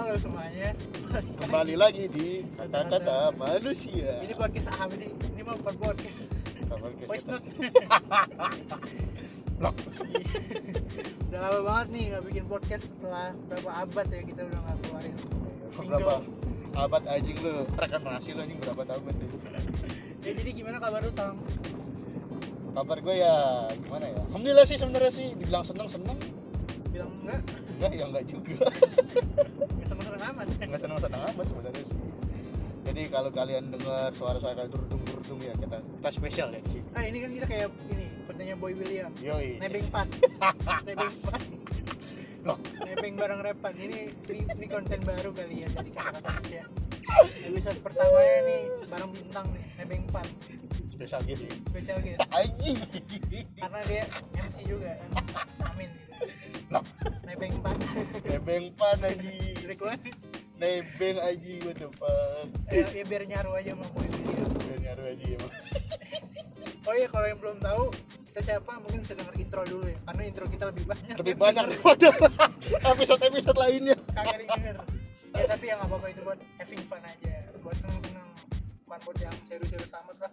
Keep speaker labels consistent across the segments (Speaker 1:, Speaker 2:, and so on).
Speaker 1: akhirnya balik
Speaker 2: Kembali
Speaker 1: lagi.
Speaker 2: lagi di kata-kata manusia.
Speaker 1: Ini podcast apa sih? Ini mah bukan podcast.
Speaker 2: Kabar kita-
Speaker 1: Voice note. Udah lama banget nih nggak bikin podcast setelah berapa abad ya kita udah nggak keluarin
Speaker 2: Berapa
Speaker 1: single.
Speaker 2: abad anjing lu? Rekan nasi lu anjing berapa tahun tuh?
Speaker 1: Ya jadi gimana kabar lu Tam?
Speaker 2: Kabar gue ya gimana ya? Alhamdulillah sih sebenarnya sih dibilang seneng seneng
Speaker 1: Bilang enggak,
Speaker 2: enggak ya enggak juga.
Speaker 1: nggak sama seneng amat.
Speaker 2: Enggak seneng seneng amat sebenarnya sih. Jadi kalau kalian dengar suara-suara kayak durdung durdung ya kita kita spesial ya di sini.
Speaker 1: Ah ini kan kita kayak ini pertanyaan Boy William.
Speaker 2: Yoi.
Speaker 1: Nebeng pat, nebeng pat,
Speaker 2: Loh.
Speaker 1: nebeng bareng repan. Ini, ini ini konten baru kali ya dari kata-kata kerja. Episode pertamanya nih bareng bintang nih, nebeng pat,
Speaker 2: Spesial gitu.
Speaker 1: spesial guest.
Speaker 2: Anjing.
Speaker 1: Karena dia MC juga kan. Amin.
Speaker 2: Loh.
Speaker 1: Nebeng pat,
Speaker 2: Nebeng pan anjing.
Speaker 1: jelek banget.
Speaker 2: Nebeng anjing what the fuck.
Speaker 1: Ya, ya biar nyaru aja sama Boy William.
Speaker 2: Udah nyaru anjing emang.
Speaker 1: Oh iya kalau yang belum tahu kita siapa mungkin bisa denger intro dulu ya karena intro kita lebih banyak
Speaker 2: lebih
Speaker 1: yang
Speaker 2: banyak
Speaker 1: denger.
Speaker 2: daripada episode-episode lainnya
Speaker 1: kagak denger ya tapi ya nggak apa-apa itu buat having fun aja buat seneng-seneng bukan buat yang serius-serius amat lah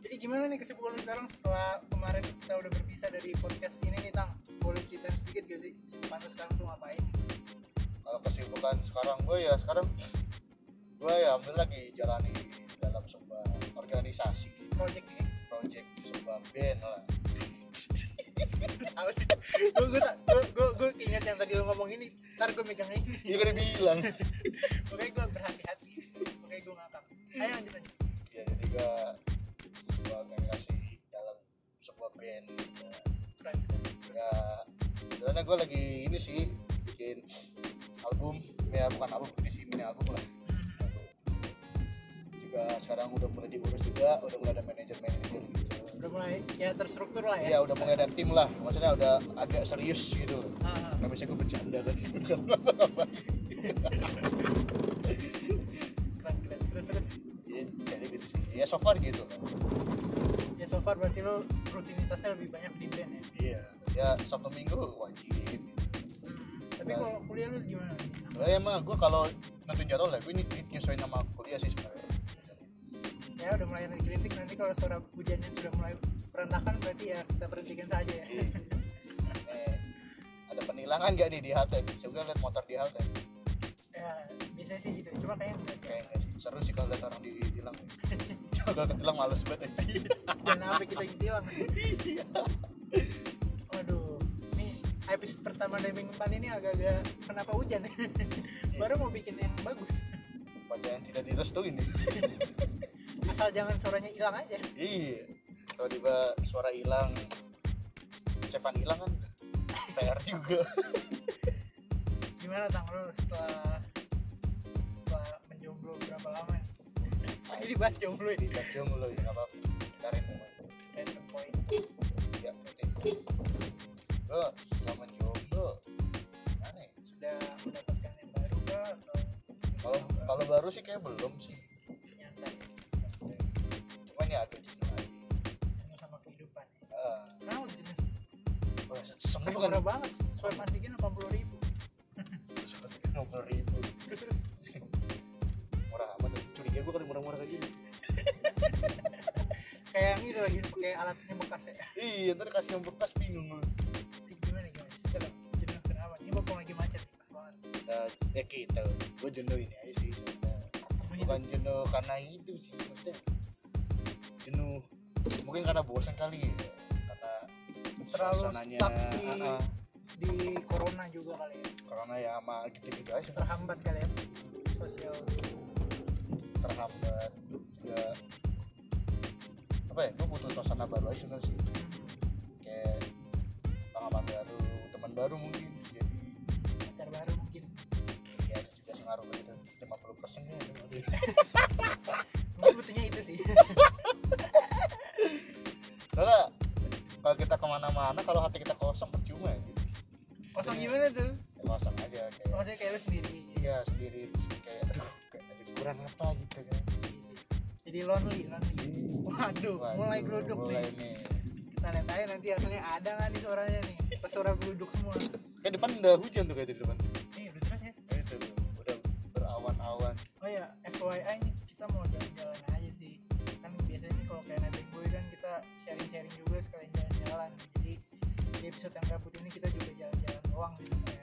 Speaker 1: jadi gimana nih kesimpulan lu sekarang setelah kemarin kita udah berpisah dari podcast ini nih tang boleh ceritain sedikit gak sih kesimpulan lu sekarang tuh ngapain
Speaker 2: kalau kesibukan sekarang gue ya sekarang gue ya alhamdulillah lagi jalani dalam sebuah organisasi
Speaker 1: project ini
Speaker 2: project sebuah band lah
Speaker 1: apa sih gue gue tak gue gue gue ingat yang tadi lu ngomong ini ntar gue megang ini
Speaker 2: iya udah bilang
Speaker 1: makanya gue berhati-hati makanya gue ngakak ayo lanjut aja
Speaker 2: ya jadi gue sebuah organisasi dalam sebuah band ya,
Speaker 1: keren
Speaker 2: ya sebenarnya gue lagi ini sih bikin album ya bukan album ini sih mini album lah juga sekarang udah mulai diurus juga udah mulai ada manajer manajer gitu
Speaker 1: udah mulai ya terstruktur lah ya
Speaker 2: Iya udah mulai ada tim lah, maksudnya udah agak serius gitu. loh.
Speaker 1: Ah, ah.
Speaker 2: Nggak bisa gue bercanda kan, bukan apa-apa.
Speaker 1: keren keren terus terus
Speaker 2: Iya, Jadi gitu sih. Ya so far gitu. lah.
Speaker 1: ya so far berarti lo rutinitasnya lebih banyak di band ya
Speaker 2: Iya. Ya Sabtu Minggu wajib.
Speaker 1: tapi kalau kuliah lu gimana
Speaker 2: Lah ya mah gue kalau nentuin jadwal lah, gue ini nyesuaiin sama kuliah sih sebenarnya.
Speaker 1: ya udah mulai ada kritik nanti kalau suara hujannya sudah mulai merendahkan berarti ya kita berhentikan saja ya
Speaker 2: Jadi, eh, ada penilangan gak nih di halte? Sebenernya liat motor di halte.
Speaker 1: ya bisa sih gitu cuma kayaknya enggak sih
Speaker 2: Kayaknya sih seru sih kalau liat orang ditilang. Kalau ketilang males banget. anjing.
Speaker 1: dan apa kita hilang waduh ini episode pertama dari minggu depan ini agak-agak kenapa hujan ya baru mau bikin yang bagus
Speaker 2: Bacaan tidak direstuin nih.
Speaker 1: asal jangan suaranya hilang aja
Speaker 2: Iya. Kalau tiba suara hilang, Cevan hilang kan PR juga.
Speaker 1: gimana tang lu setelah setelah menjomblo berapa lama ya? jadi bahas jomblo
Speaker 2: Jadi
Speaker 1: ini
Speaker 2: tajam lo ya nggak apa-apa. Tarik momen.
Speaker 1: random point
Speaker 2: Ya, nanti. Lo selama jomblo, aneh.
Speaker 1: sudah mendapatkan yang baru kah atau
Speaker 2: Kalau kalau baru sih kayak belum sih.
Speaker 1: masih nyantai ya?
Speaker 2: Cuman ya agak jenuh aja.
Speaker 1: Senang sama kehidupan ya?
Speaker 2: Eh,
Speaker 1: kenapa gitu
Speaker 2: wah, se- Sembuh kan?
Speaker 1: murah banget swab antigen 80 ribu
Speaker 2: Seperti kan nomor itu.
Speaker 1: terus terus
Speaker 2: Murah amat. Curiga gue kali murah-murah kayak gini.
Speaker 1: kayak yang itu lagi pakai alatnya bekas ya
Speaker 2: Iya, ntar kasih yang bekas bingung lu.
Speaker 1: Ih, gimana gimana Jalan, jalan kenapa ini mumpung lagi macet nih, pas banget
Speaker 2: Nah, ya kita, gue jenuh ini aja sih. sebenarnya.
Speaker 1: Mungkin
Speaker 2: bukan jenuh karena itu sih maksudnya jenuh mungkin karena bosan kali ya karena
Speaker 1: terlalu
Speaker 2: suasananya
Speaker 1: stuck di
Speaker 2: ah, ah.
Speaker 1: di corona juga kali ya
Speaker 2: corona ya sama gitu-gitu aja
Speaker 1: terhambat kali ya sosial hmm,
Speaker 2: terhambat juga apa ya gue butuh suasana baru aja sebenarnya sih kayak pengalaman baru teman baru mungkin jadi
Speaker 1: pacar baru mungkin
Speaker 2: ya itu juga sih ngaruh gitu 50 persen ya
Speaker 1: mungkin butuhnya itu sih
Speaker 2: soalnya kalau kita kemana-mana kalau hati kita kosong percuma ya gitu
Speaker 1: kosong gimana tuh
Speaker 2: Ya, kosong aja kayak
Speaker 1: maksudnya kayak lu sendiri gitu.
Speaker 2: iya sendiri terus kayak aduh kayak ada kurang apa gitu kan
Speaker 1: jadi lonely lonely waduh
Speaker 2: Waduh,
Speaker 1: mulai geruduk
Speaker 2: mulai
Speaker 1: nih
Speaker 2: nih
Speaker 1: kita lihat aja nanti hasilnya ada nggak nih suaranya nih pas suara geruduk semua
Speaker 2: kayak depan udah hujan tuh kayak di depan
Speaker 1: nih udah terus ya
Speaker 2: itu udah berawan
Speaker 1: oh ya FYI nih kita mau jalan-jalan aja sih kan biasanya nih kalau kayak nanti gue kan kita sharing-sharing juga sekalian jalan-jalan jadi di episode yang gabut ini kita juga jalan-jalan doang gitu ya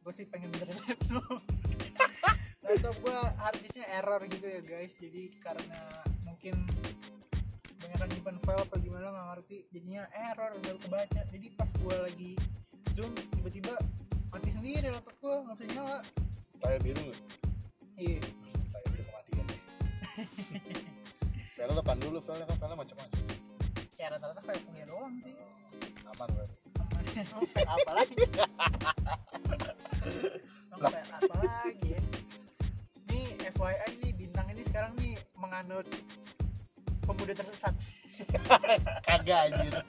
Speaker 1: gue sih pengen beneran laptop laptop gue harddisknya error gitu ya guys jadi karena mungkin banyak nyimpen file apa gimana nggak ngerti jadinya error baru kebaca jadi pas gue lagi zoom tiba-tiba mati sendiri laptop gue nggak bisa nyala
Speaker 2: layar biru
Speaker 1: iya
Speaker 2: layar biru kematian Velnya depan dulu, velnya kan velnya macam-macam
Speaker 1: ya rata-rata kayak kuliah doang sih
Speaker 2: Aman berarti Nah.
Speaker 1: Emang fail apa lagi? Emang fail apa lagi ya? Nih FYI nih bintang ini sekarang nih menganut pemuda tersesat.
Speaker 2: Kagak anjir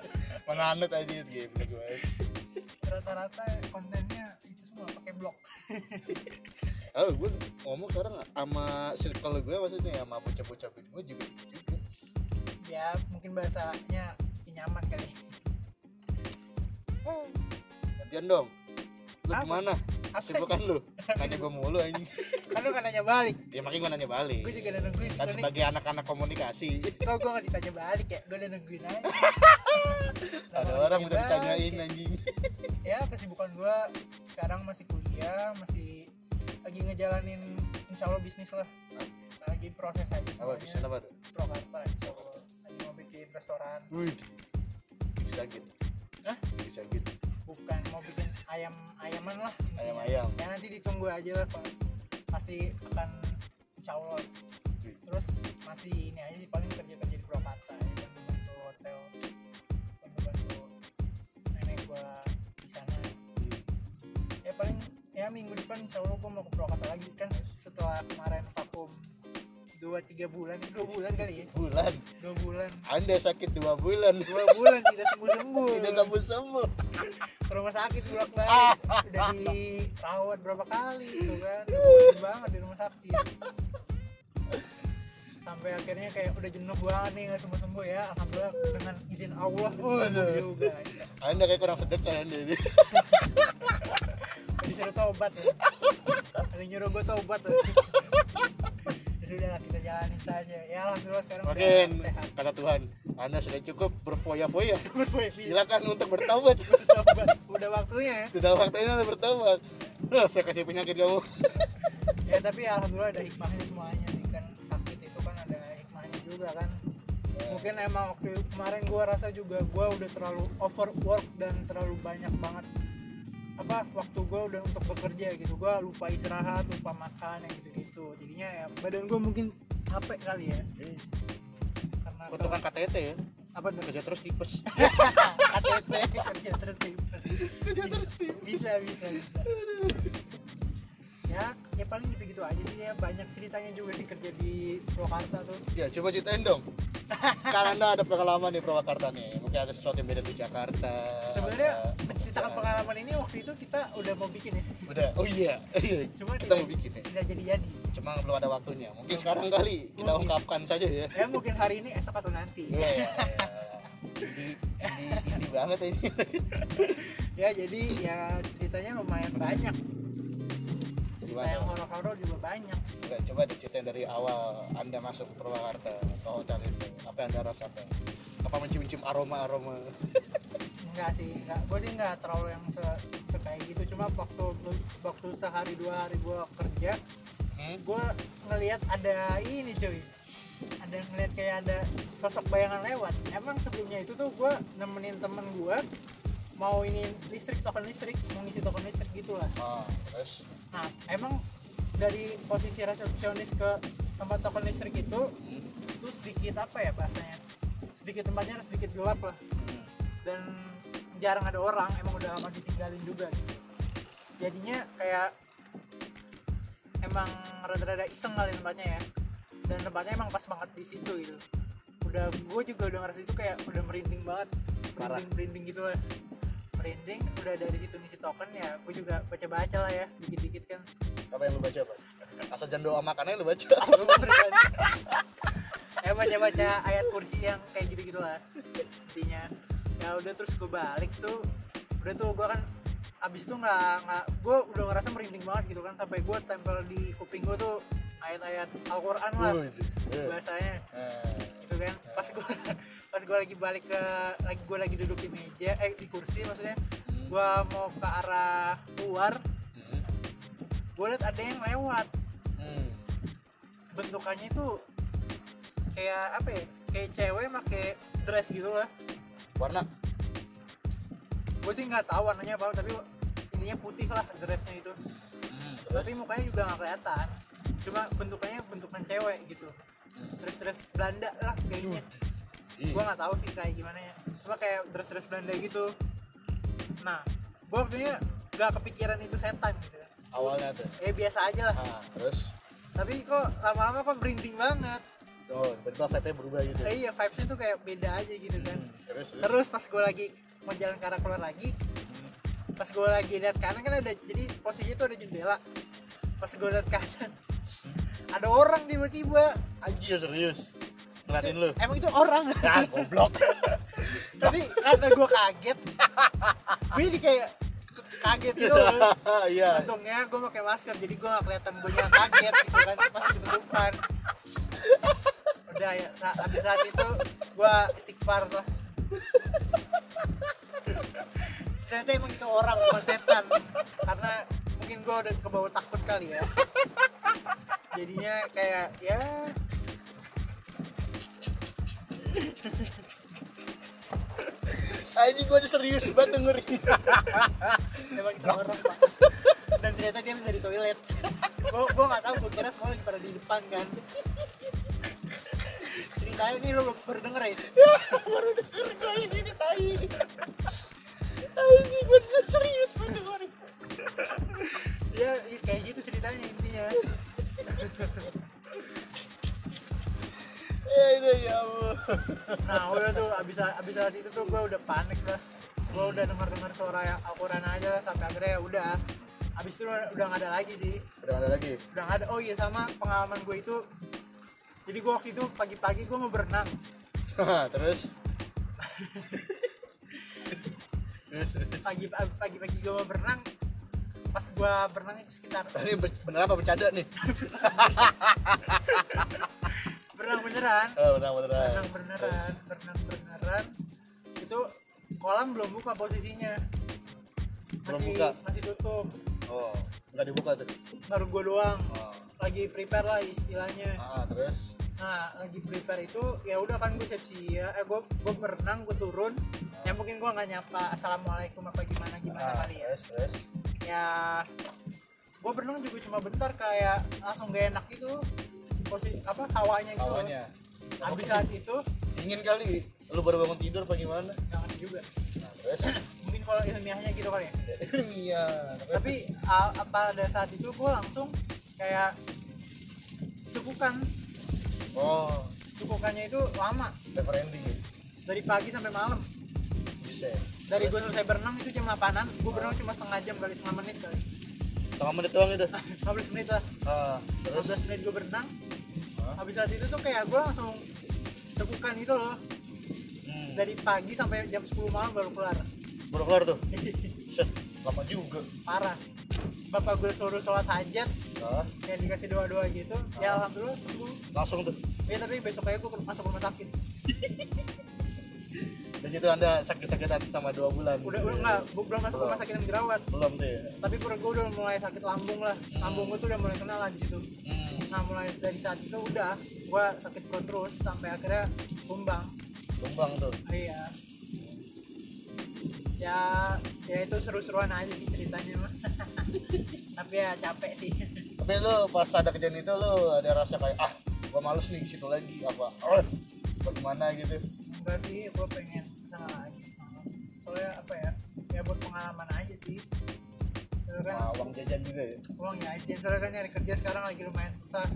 Speaker 2: Menganut anjir game gue
Speaker 1: Rata-rata kontennya itu semua pakai blog.
Speaker 2: Oh, gue ngomong sekarang sama circle gue maksudnya sama bocah-bocah band gue juga gitu juga
Speaker 1: Ya mungkin bahasanya bikin nyaman kali.
Speaker 2: Ah, Gantian dong Lu
Speaker 1: Apa?
Speaker 2: gimana?
Speaker 1: Apa
Speaker 2: Sibukan lu? Nanya gue mulu anjing
Speaker 1: Kan lu kan nanya balik.
Speaker 2: Ya makanya gue nanya balik
Speaker 1: Gue juga udah nungguin.
Speaker 2: Kan
Speaker 1: Lu nih,
Speaker 2: sebagai anak-anak komunikasi
Speaker 1: Kok gue gak ditanya balik ya? Gue udah nungguin aja.
Speaker 2: Ada
Speaker 1: Kenapa
Speaker 2: orang
Speaker 1: nanya
Speaker 2: udah ditanyain
Speaker 1: balik ya?
Speaker 2: anjing
Speaker 1: ya kesibukan gue sekarang masih kuliah masih lagi ngejalanin insya Allah bisnis lah lagi proses aja
Speaker 2: Apa
Speaker 1: semuanya.
Speaker 2: bisa apa tuh?
Speaker 1: Prokarta insya Allah lagi mau bikin restoran
Speaker 2: Wih Bisa gitu
Speaker 1: Hah?
Speaker 2: Bisa gitu
Speaker 1: bukan mau bikin ayam ayaman lah
Speaker 2: Ayam-ayam
Speaker 1: ya nanti ditunggu aja lah Pak. pasti akan insya Allah
Speaker 2: Wih.
Speaker 1: terus masih ini aja sih paling kerja kerja di Prokarta ya bantu bantu hotel bantu bantu nenek gue di sana ya paling ya minggu depan insya Allah gue mau ke Purwakarta lagi kan setelah kemarin vakum dua tiga bulan dua bulan kali ya
Speaker 2: Bulan
Speaker 1: dua bulan
Speaker 2: Anda sakit dua bulan
Speaker 1: dua bulan tidak sembuh sembuh
Speaker 2: Tidak sembuh-sembuh
Speaker 1: ke rumah sakit bolak balik udah dirawat berapa kali itu kan Bosen banget di rumah sakit sampai akhirnya kayak udah jenuh banget nih nggak sembuh sembuh ya alhamdulillah dengan izin Allah sembuh
Speaker 2: Waduh.
Speaker 1: juga ya.
Speaker 2: Anda kayak kurang sedekah Anda ini
Speaker 1: disuruh tobat ya. ada yang nyuruh gue tobat loh ya sudah lah kita jalanin saja ya alhamdulillah sekarang udah
Speaker 2: Makin
Speaker 1: sehat
Speaker 2: kata Tuhan, Anda sudah cukup berfoya-foya.
Speaker 1: Gue bisa
Speaker 2: Silakan untuk bertobat.
Speaker 1: iya. tobat udah waktunya ya
Speaker 2: Sudah waktunya Anda bertobat. Loh, saya kasih penyakit kamu.
Speaker 1: ya tapi alhamdulillah ada hikmahnya semuanya sih kan sakit itu kan ada hikmahnya juga kan mungkin emang waktu kemarin gue rasa juga gue udah terlalu overwork dan terlalu banyak banget apa waktu gue udah untuk bekerja gitu gue lupa istirahat lupa makan yang gitu-gitu jadinya ya badan gue mungkin capek kali ya
Speaker 2: Eh,
Speaker 1: karena
Speaker 2: Kutukan KTT ya,
Speaker 1: kan apa tuh
Speaker 2: kerja terus tipes.
Speaker 1: KTP kerja terus tipes kerja terus bisa bisa bisa ya ya paling gitu gitu aja sih ya banyak ceritanya juga sih kerja di Purwakarta tuh
Speaker 2: Ya, coba ceritain dong. Karena Anda ada pengalaman di Purwakarta nih, mungkin ada sesuatu yang beda di Jakarta.
Speaker 1: sebenarnya
Speaker 2: Apa-
Speaker 1: menceritakan pengalaman ini waktu itu kita udah mau bikin ya
Speaker 2: Udah, oh iya, iya.
Speaker 1: cuma
Speaker 2: kita
Speaker 1: tidak
Speaker 2: mau bikin ya.
Speaker 1: tidak jadi jadi
Speaker 2: Cuma belum ada waktunya. Mungkin sekarang kali kita
Speaker 1: Mungkin.
Speaker 2: ungkapkan saja ya.
Speaker 1: ya mungkin hari ini esok atau nanti
Speaker 2: Iya. iya, iya. Ini, ini, ini banget ini.
Speaker 1: ya jadi ya ceritanya lumayan banyak cerita
Speaker 2: Gimana?
Speaker 1: yang horor-horor juga banyak
Speaker 2: Enggak, coba diceritain dari awal Anda masuk ke Purwakarta ke hotel itu. Apa yang Anda rasakan? Apa mencium-cium aroma-aroma?
Speaker 1: Enggak sih, enggak. Gue sih enggak terlalu yang se sekayak gitu. Cuma waktu waktu sehari dua hari gue kerja,
Speaker 2: Hmm?
Speaker 1: gue ngelihat ada ini cuy. Ada ngelihat kayak ada sosok bayangan lewat. Emang sebelumnya itu tuh gue nemenin temen gue mau ini listrik token listrik mau ngisi token listrik gitu lah
Speaker 2: Ah, terus
Speaker 1: nah emang dari posisi resepsionis ke tempat token listrik itu
Speaker 2: hmm.
Speaker 1: itu sedikit apa ya bahasanya sedikit tempatnya harus sedikit gelap lah
Speaker 2: Hmm.
Speaker 1: dan jarang ada orang emang udah lama ditinggalin juga gitu jadinya kayak emang rada-rada iseng kali tempatnya ya dan tempatnya emang pas banget di situ gitu udah gue juga udah ngerasa itu kayak udah merinding banget
Speaker 2: Parah.
Speaker 1: merinding merinding gitu lah merinding udah dari situ ngisi token ya gue juga baca-baca lah ya dikit-dikit kan
Speaker 2: Apa yang lu baca, Pak? Asal jangan doa makannya lu baca.
Speaker 1: Gua beneran. eh baca baca ayat kursi yang kayak gitu gitu lah intinya ya udah terus gue balik tuh udah tuh gue kan abis itu nggak nggak gue udah ngerasa merinding banget gitu kan sampai gue tempel di kuping gue tuh ayat-ayat Al-Quran lah
Speaker 2: Eh,
Speaker 1: bahasanya
Speaker 2: eh,
Speaker 1: gitu kan pas gue pas gue lagi balik ke lagi gue lagi duduk di meja eh di kursi maksudnya gue mau ke arah luar
Speaker 2: hmm,
Speaker 1: gue liat ada yang lewat
Speaker 2: hmm.
Speaker 1: bentukannya itu kayak apa ya kayak cewek pakai dress gitu lah
Speaker 2: warna
Speaker 1: gue sih nggak tahu warnanya apa tapi ininya putih lah dressnya itu
Speaker 2: Hmm, terus?
Speaker 1: tapi mukanya juga nggak kelihatan cuma bentukannya bentukan cewek gitu dress dress Belanda lah kayaknya
Speaker 2: Ih,
Speaker 1: gue nggak tahu sih kayak gimana ya cuma kayak dress dress Belanda gitu nah gue waktunya gak kepikiran itu setan gitu
Speaker 2: awalnya tuh
Speaker 1: ya biasa aja lah
Speaker 2: ah, terus
Speaker 1: tapi kok lama-lama kok merinding banget
Speaker 2: oh tiba-tiba vibe-nya berubah gitu
Speaker 1: eh, iya vibesnya tuh kayak beda aja gitu kan
Speaker 2: Hmm, terus terus
Speaker 1: terus pas gue lagi mau jalan ke arah keluar lagi
Speaker 2: Hmm.
Speaker 1: pas gue lagi lihat kanan kan ada jadi posisinya tuh ada jendela pas gue lihat kanan ada orang tiba-tiba
Speaker 2: anjir serius ngeliatin lu
Speaker 1: emang itu orang
Speaker 2: ah goblok
Speaker 1: tapi karena gue kaget gue jadi kayak kaget gitu loh.
Speaker 2: iya
Speaker 1: untungnya gue pakai masker jadi gue gak kelihatan gue yang kaget gitu kan pas ketutupan udah ya sa- habis saat itu gue istighfar lah ternyata emang itu orang bukan setan karena mungkin gue udah kebawa takut kali ya jadinya kayak ya
Speaker 2: anjing gua udah serius banget dengerin
Speaker 1: emang itu orang pak dan ternyata dia bisa di toilet gue gue nggak tahu gue kira semua lagi pada di depan kan ceritanya nih lo baru denger ya
Speaker 2: baru denger gua ini ini tai anjing gua udah serius banget dengerin
Speaker 1: ya i- kayak gitu ceritanya intinya
Speaker 2: ya itu ya Allah
Speaker 1: nah udah tuh abis abis saat itu tuh gue udah panik lah gue udah denger dengar suara yang Al-Quran aja lah, sampai akhirnya ya udah abis itu udah udah nggak ada lagi sih
Speaker 2: udah ada lagi
Speaker 1: udah nggak ada oh iya sama pengalaman gue itu jadi gue waktu itu pagi-pagi gue mau berenang
Speaker 2: terus terus terus.
Speaker 1: pagi pagi-pagi gue mau berenang pas gue berenang itu sekitar
Speaker 2: ini ben- bener apa bercanda nih
Speaker 1: berenang beneran
Speaker 2: oh, bener beneran
Speaker 1: berenang beneran berenang beneran itu kolam belum buka posisinya masih
Speaker 2: Belum buka.
Speaker 1: masih tutup
Speaker 2: oh nggak dibuka tuh
Speaker 1: baru gue doang
Speaker 2: oh.
Speaker 1: lagi prepare lah istilahnya
Speaker 2: ah terus
Speaker 1: nah lagi prepare itu ya udah kan gue siap siap eh gue gue berenang gue turun ya mungkin gue nggak nyapa assalamualaikum apa gimana gimana
Speaker 2: ah
Speaker 1: kali ya
Speaker 2: terus terus
Speaker 1: ya gue berenang juga cuma bentar kayak langsung gak enak gitu posisi apa hawanya gitu
Speaker 2: awalnya
Speaker 1: habis saat itu
Speaker 2: dingin kali lu baru bangun tidur apa gimana
Speaker 1: jangan juga
Speaker 2: nah, terus
Speaker 1: mungkin kalau ilmiahnya gitu kali ya
Speaker 2: iya terus.
Speaker 1: tapi a- apa pada saat itu gue langsung kayak cukukan
Speaker 2: oh
Speaker 1: cukukannya kan itu lama
Speaker 2: never ending ya?
Speaker 1: dari pagi sampai malam
Speaker 2: bisa
Speaker 1: dari gue selesai berenang itu jam 8an gue berenang cuma setengah jam kali setengah menit kali
Speaker 2: setengah menit doang itu
Speaker 1: 15 menit lah
Speaker 2: ah terus Ah,
Speaker 1: 15 menit gue berenang
Speaker 2: Hah?
Speaker 1: habis saat itu tuh kayak gue langsung cekukan itu loh
Speaker 2: hmm.
Speaker 1: dari pagi sampai jam 10 malam baru keluar
Speaker 2: baru keluar tuh set lama juga
Speaker 1: parah bapak gue suruh sholat hajat
Speaker 2: ah
Speaker 1: kayak dikasih doa-doa gitu ya alhamdulillah sembuh
Speaker 2: langsung tuh
Speaker 1: ya tapi besoknya gue masuk rumah sakit
Speaker 2: dari situ anda sakit-sakitan sama dua bulan
Speaker 1: udah udah nggak bu- belum masuk rumah sakit yang jerawat
Speaker 2: belum tuh ya
Speaker 1: tapi perut gue udah mulai sakit lambung lah lambung gue tuh udah mulai kenal lah di situ
Speaker 2: hmm.
Speaker 1: nah mulai dari saat itu udah gue sakit perut terus sampai akhirnya kumbang
Speaker 2: tumbang tuh
Speaker 1: iya ya ya itu seru-seruan aja sih ceritanya mah tapi ya capek sih
Speaker 2: tapi lu pas ada kejadian itu lu ada rasa kayak ah gua males nih ke situ lagi apa oh bagaimana gitu
Speaker 1: enggak sih gue pengen kesana lagi soalnya apa ya ya buat pengalaman aja sih Soalnya kan
Speaker 2: nah, uang jajan juga ya
Speaker 1: uang ya aja soalnya kan nyari kerja sekarang lagi lumayan susah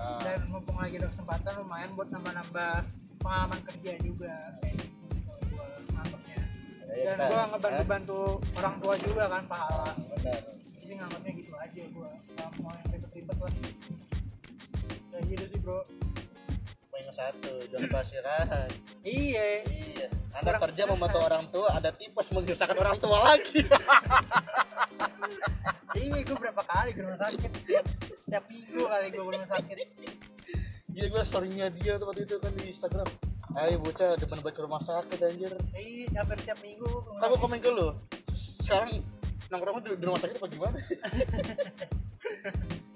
Speaker 2: Ah.
Speaker 1: dan mumpung lagi ada kesempatan lumayan buat nambah-nambah pengalaman kerja juga kayak gitu kalau gua nganggapnya.
Speaker 2: Ya,
Speaker 1: dan
Speaker 2: kita-
Speaker 1: gua
Speaker 2: Hah?
Speaker 1: ngebantu-bantu orang tua juga kan pahala
Speaker 2: benar
Speaker 1: jadi nganggapnya gitu aja gua nggak mau yang ribet-ribet lah kayak gitu sih bro
Speaker 2: minus satu jangan lupa istirahat
Speaker 1: iya
Speaker 2: iya anda
Speaker 1: Kurang
Speaker 2: kerja
Speaker 1: istirahat.
Speaker 2: memantau orang tua ada tipes menyusahkan orang tua lagi
Speaker 1: iya gue berapa kali ke rumah sakit setiap minggu kali gue ke rumah sakit
Speaker 2: Gila gue storynya Iya, dia tuh waktu itu kan di Instagram Ayo bocah depan banget ke rumah sakit anjir
Speaker 1: iya hampir tiap minggu ke rumah
Speaker 2: Aku
Speaker 1: sakit
Speaker 2: komen ke lu Sekarang nongkrong di, di rumah sakit apa gimana?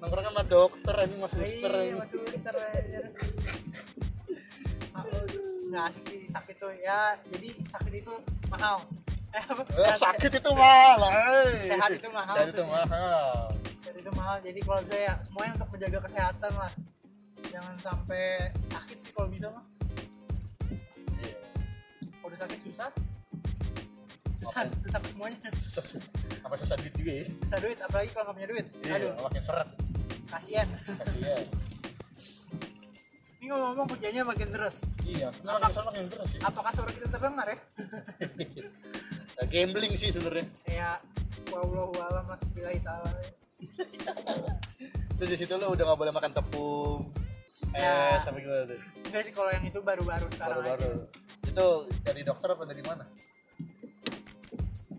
Speaker 2: nongkrong sama dokter, ini mas suster
Speaker 1: iya
Speaker 2: ini Eh,
Speaker 1: mas suster anjir aku nggak asik sih sakit tuh ya jadi sakit itu mahal eh, apa?
Speaker 2: Eh,
Speaker 1: Sehat-
Speaker 2: sakit itu mahal eh.
Speaker 1: Sehat itu mahal.
Speaker 2: Sehat itu mahal
Speaker 1: Jadi itu mahal. Jadi kalau bisa ya semuanya untuk menjaga kesehatan lah. Jangan sampai sakit sih kalau bisa mah.
Speaker 2: Iya.
Speaker 1: Kalau udah sakit susah. Susah,
Speaker 2: Makan.
Speaker 1: susah ke semuanya.
Speaker 2: Susah sih Apa susah duit juga ya
Speaker 1: Susah duit, apalagi kalau nggak punya duit.
Speaker 2: Iya,
Speaker 1: Aduh,
Speaker 2: makin seret ya.
Speaker 1: kasihan.
Speaker 2: Kasian
Speaker 1: Ini ngomong-ngomong hujannya makin terus.
Speaker 2: Iya, kenapa makin seret makin terus ya? sih
Speaker 1: Apakah suara kita terdengar ya?
Speaker 2: Nah, gambling sih sebenarnya
Speaker 1: Ya, wallahu alam lah, billahi ta'ala.
Speaker 2: Terus di situ lo udah gak boleh makan tepung
Speaker 1: Ya.
Speaker 2: Eh, sampai gimana tuh?
Speaker 1: Enggak sih kalau yang itu baru-baru sekarang aja.
Speaker 2: Baru-baru Itu dari dokter apa dari mana?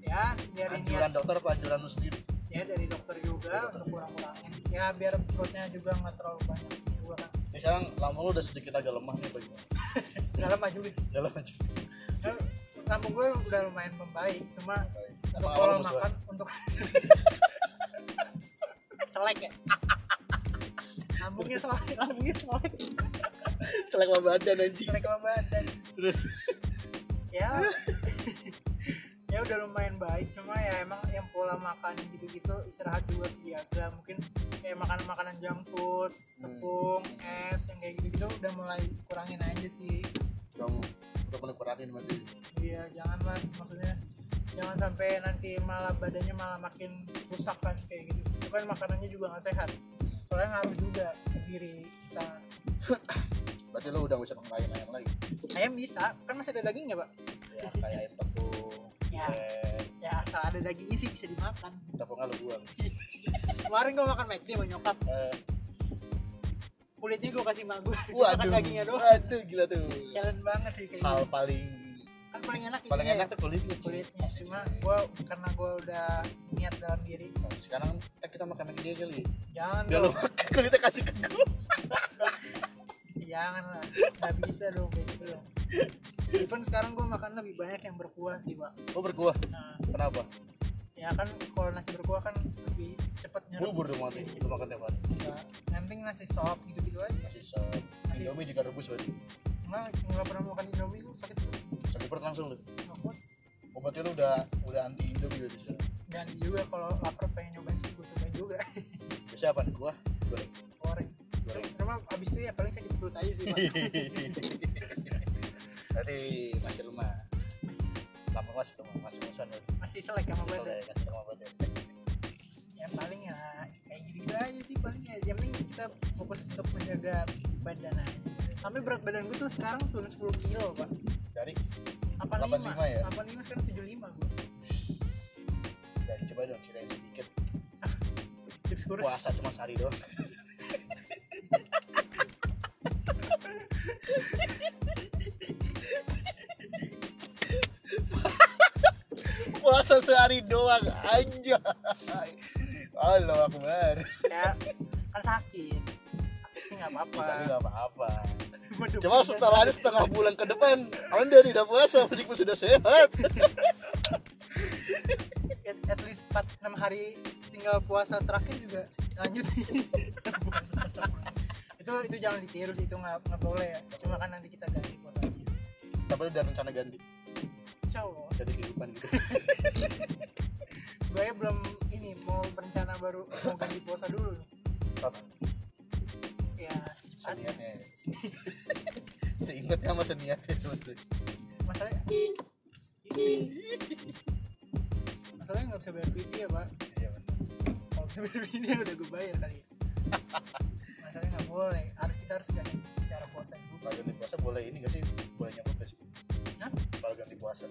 Speaker 1: Ya, dari
Speaker 2: Anjuran
Speaker 1: niat
Speaker 2: dokter apa anjuran lu sendiri?
Speaker 1: ya dari dokter juga untuk kurang-kurangin. Ya biar perutnya juga nggak terlalu banyak juga kan.
Speaker 2: Ya, sekarang lambung lu udah sedikit agak lemah nih Ya, bagaimana?
Speaker 1: Dalam majelis.
Speaker 2: Jalan aja
Speaker 1: Kan lambung gue udah lumayan membaik cuma untuk
Speaker 2: Emang apa
Speaker 1: pola
Speaker 2: lu musuhan?
Speaker 1: makan untuk selek ya lambungnya selek lambungnya selek
Speaker 2: Selek sama badan anjing
Speaker 1: selek sama badan
Speaker 2: Terus,
Speaker 1: ya ya udah lumayan baik cuma ya emang yang pola makan gitu-gitu istirahat juga dijaga mungkin kayak makanan makanan junk food
Speaker 2: Hmm,
Speaker 1: tepung es yang kayak gitu-gitu udah mulai kurangin aja sih
Speaker 2: Dong, untuk menekuratin berarti
Speaker 1: Iya, janganlah maksudnya jangan sampai nanti malah badannya malah makin rusak kan kayak gitu. Itu kan makanannya juga nggak sehat. Soalnya ngaruh juga ke diri kita.
Speaker 2: Berarti lu udah gak bisa makan ayam ayam lagi
Speaker 1: Ayam bisa, kan masih ada dagingnya pak?
Speaker 2: Ya, kayak ayam tepung
Speaker 1: Ya.
Speaker 2: eh,
Speaker 1: Ya asal ada dagingnya sih bisa dimakan.
Speaker 2: Tepungnya lu buang
Speaker 1: Kemarin gua makan McD sama nyokap,
Speaker 2: Eh,
Speaker 1: kulitnya gua kasih mak gue, makan
Speaker 2: Waduh,
Speaker 1: dagingnya doang.
Speaker 2: waduh gila tuh
Speaker 1: Challenge banget sih kayak
Speaker 2: Hal
Speaker 1: gitu.
Speaker 2: paling
Speaker 1: Kan paling enak
Speaker 2: paling
Speaker 1: ini
Speaker 2: enak
Speaker 1: ya,
Speaker 2: tuh Iya. kulitnya cuy.
Speaker 1: kulitnya.
Speaker 2: Asli,
Speaker 1: Cuma
Speaker 2: cuy.
Speaker 1: gua karena gua udah niat dalam diri,
Speaker 2: Nah, sekarang kan kita makan lagi dia kali
Speaker 1: jangan
Speaker 2: Gak lo
Speaker 1: dong,
Speaker 2: makan kulitnya kasih ke gue
Speaker 1: jangan lah, nggak bisa dong kayak gitu dong. Even sekarang gua makan lebih banyak yang berkuah sih pak.
Speaker 2: Gue berkuah
Speaker 1: Nah,
Speaker 2: Kenapa?
Speaker 1: ya kan kalau nasi berkuah kan lebih cepet nyerap.
Speaker 2: Bubur dong mati Gue makan tiap hari
Speaker 1: Enggak. Yang penting nasi sop gitu-gitu aja.
Speaker 2: Masih sop
Speaker 1: Masih-
Speaker 2: Indomie juga rebus berarti
Speaker 1: Enggak, enggak pernah makan Indomie gue sakit perut.
Speaker 2: Sakit perut langsung lu
Speaker 1: Enggak kuat.
Speaker 2: Obatnya lu udah udah anti Indomie berarti sekarang
Speaker 1: Dan juga kalau lapar pengen nyobain sih gue cobain juga
Speaker 2: Biasanya apaan? Gua? Goreng
Speaker 1: goreng.
Speaker 2: Goreng
Speaker 1: Cuma abis itu ya paling sakit perut aja sih. Pak.
Speaker 2: Berarti masih rumah Lama mas rumah Masih musuhan lu
Speaker 1: Masih selek sama
Speaker 2: Kesel
Speaker 1: badan.
Speaker 2: ya kan sama badan
Speaker 1: Ya paling ya kayak gitu-gitu aja sih paling ya. Yang penting kita fokus untuk menjaga badan aja. Sampai
Speaker 2: Iya.
Speaker 1: berat badan gue tuh sekarang turun 10 kilo pak.
Speaker 2: Dari
Speaker 1: lima
Speaker 2: 85 ya?
Speaker 1: 85 sekarang 75 gue.
Speaker 2: Dan coba dong ceritain sedikit
Speaker 1: Tips kurus.
Speaker 2: Puasa cuma sehari doang puasa sehari doang aja Allah akbar
Speaker 1: ya kan sakit sakit sih nggak apa-apa
Speaker 2: bisa nggak apa-apa
Speaker 1: Waduh,
Speaker 2: cuma
Speaker 1: bener.
Speaker 2: setelah setengah bulan ke depan anda tidak puasa meskipun sudah sehat
Speaker 1: at, at least 4 6 hari tinggal puasa terakhir juga lanjut itu itu jangan ditiru sih itu nggak nggak boleh ya cuma kan nanti kita ganti buat lagi
Speaker 2: tapi udah rencana ganti
Speaker 1: cowok
Speaker 2: ganti kehidupan gitu
Speaker 1: gue belum ini mau berencana baru mau ganti puasa dulu nih
Speaker 2: apa
Speaker 1: ya cepat.
Speaker 2: seniatnya seingatnya sama seniatnya cuma tuh
Speaker 1: masalahnya masalahnya nggak bisa bayar video ya pak
Speaker 2: iya benar
Speaker 1: kalau bisa beli ini udah gue bayar kali ya. masalahnya nggak boleh harus kita harus ganti secara puasa dulu
Speaker 2: kalau ganti puasa boleh ini gak sih boleh nyogok gak sih
Speaker 1: Hah?
Speaker 2: kalau ganti puasa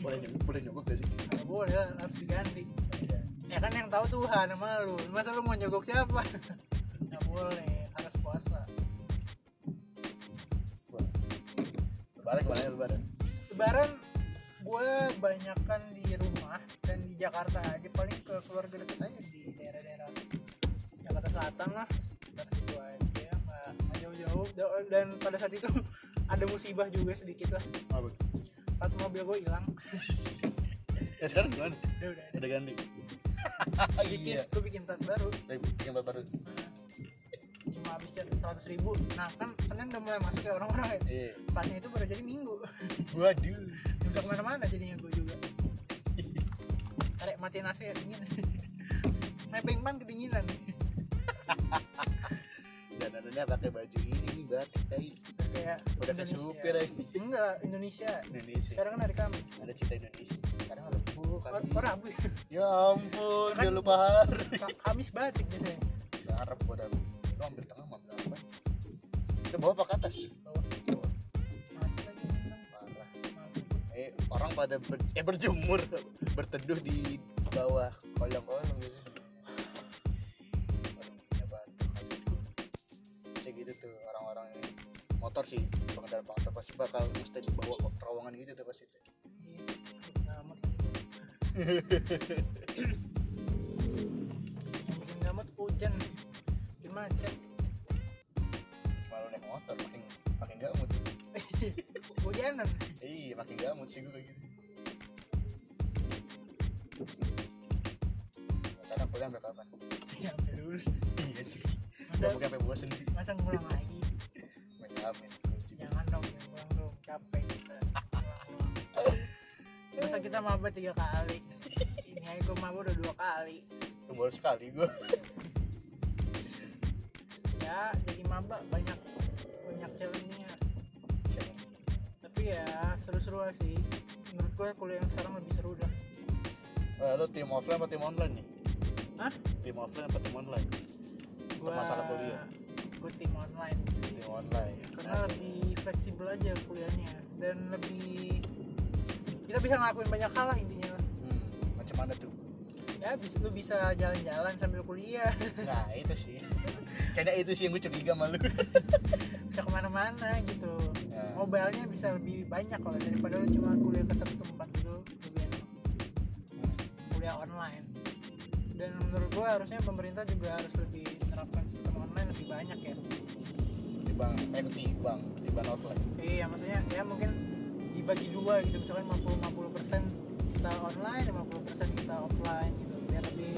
Speaker 2: boleh nyogok boleh nyogok gak sih
Speaker 1: nggak boleh lah, harus diganti
Speaker 2: Iya.
Speaker 1: ya kan yang tahu Tuhan sama lu masa lu mau nyogok siapa nggak boleh harus puasa
Speaker 2: Boleh. lebaran kemana ya lebaran
Speaker 1: lebaran gue banyakkan di rumah dan di Jakarta aja paling ke keluarga deket aja di daerah-daerah Jakarta Selatan lah sekitar situ aja nggak nggak jauh-jauh Da- dan pada saat itu ada musibah juga sedikit lah
Speaker 2: Apa?
Speaker 1: part mobil gue hilang
Speaker 2: Ya sekarang gimana?
Speaker 1: udah udah ada
Speaker 2: Udah ganti.
Speaker 1: bikin
Speaker 2: iya.
Speaker 1: gue bikin plat baru
Speaker 2: Tapi bikin baru baru.
Speaker 1: cuma habis cat seratus ribu nah kan senin udah mulai masuk ya orang-orang ya
Speaker 2: Iya.
Speaker 1: platnya itu baru jadi minggu
Speaker 2: Waduh.
Speaker 1: Nggak bisa kemana-mana jadinya gue juga tarik matiin AC ya dingin nebeng ban kedinginan
Speaker 2: Dan adanya pakai baju ini nih batik tadi.
Speaker 1: kayak
Speaker 2: Udah ke
Speaker 1: Indonesia.
Speaker 2: supir aja.
Speaker 1: enggak Indonesia
Speaker 2: Indonesia.
Speaker 1: sekarang kan hari Kamis
Speaker 2: Ada cinta Indonesia. Sekarang ada buku
Speaker 1: Kor- kok Rabu ya?
Speaker 2: Ya ampun,
Speaker 1: Kan-
Speaker 2: udah lupa hari.
Speaker 1: Ka- Kamis batik biasanya
Speaker 2: Arab buat aku. Lo ambil tengah, mau ambil apa? Itu bawa apa ke atas?
Speaker 1: bawa
Speaker 2: Bawa.
Speaker 1: macet lagi hilang.
Speaker 2: Parah.
Speaker 1: Mampus.
Speaker 2: Eh, orang pada ber- eh, berjemur, berteduh di bawah kolong-kolong gitu. Aduh, gila banget. Kayak gitu tuh orang-orang yang motor sih pengendara motor pasti bakal mesti dibawa ke terowongan gitu tuh pasti tuh.
Speaker 1: Iya. Aduh, Ngamut Yang bikin ngamut hujan bikin macet
Speaker 2: malu naik motor makin makin gamut
Speaker 1: hujanan
Speaker 2: iya makin gamut sih gue kayak gitu rencana kuliah sampai kapan
Speaker 1: ya sampai lulus
Speaker 2: iya sih gue
Speaker 1: masa
Speaker 2: mungkin sampai bosen sih
Speaker 1: masa ngulang lagi
Speaker 2: ngapain
Speaker 1: jangan dong jangan ngulang dong capek kita Ngulang-ngulang. masa kita maba tiga kali ini aja gue maba udah dua kali
Speaker 2: itu baru sekali gue
Speaker 1: ya jadi maba banyak banyak challenge-nya tapi ya seru-seru lah sih menurut gue kuliah yang sekarang lebih seru dah
Speaker 2: Eh, lo tim offline apa tim online nih
Speaker 1: Hah?
Speaker 2: tim offline apa tim online
Speaker 1: Gua-
Speaker 2: masalah kuliah.
Speaker 1: gue tim online sih.
Speaker 2: tim online
Speaker 1: karena lebih fleksibel aja kuliahnya dan lebih kita bisa ngelakuin banyak hal lah intinya lah.
Speaker 2: hmm, macam mana tuh
Speaker 1: ya bisa lu bisa jalan-jalan sambil kuliah
Speaker 2: nah itu sih kayaknya itu sih yang gue curiga malu
Speaker 1: bisa kemana-mana gitu
Speaker 2: Ya.
Speaker 1: mobilenya bisa lebih banyak kalau daripada lu cuma kuliah ke satu tempat gitu lebih enak kuliah online dan menurut gua harusnya pemerintah juga harus lebih terapkan sistem online lebih banyak ya
Speaker 2: ketimbang eh ketimbang ketimbang offline
Speaker 1: iya maksudnya ya mungkin dibagi dua gitu misalkan 50 50 kita online 50 kita offline gitu biar lebih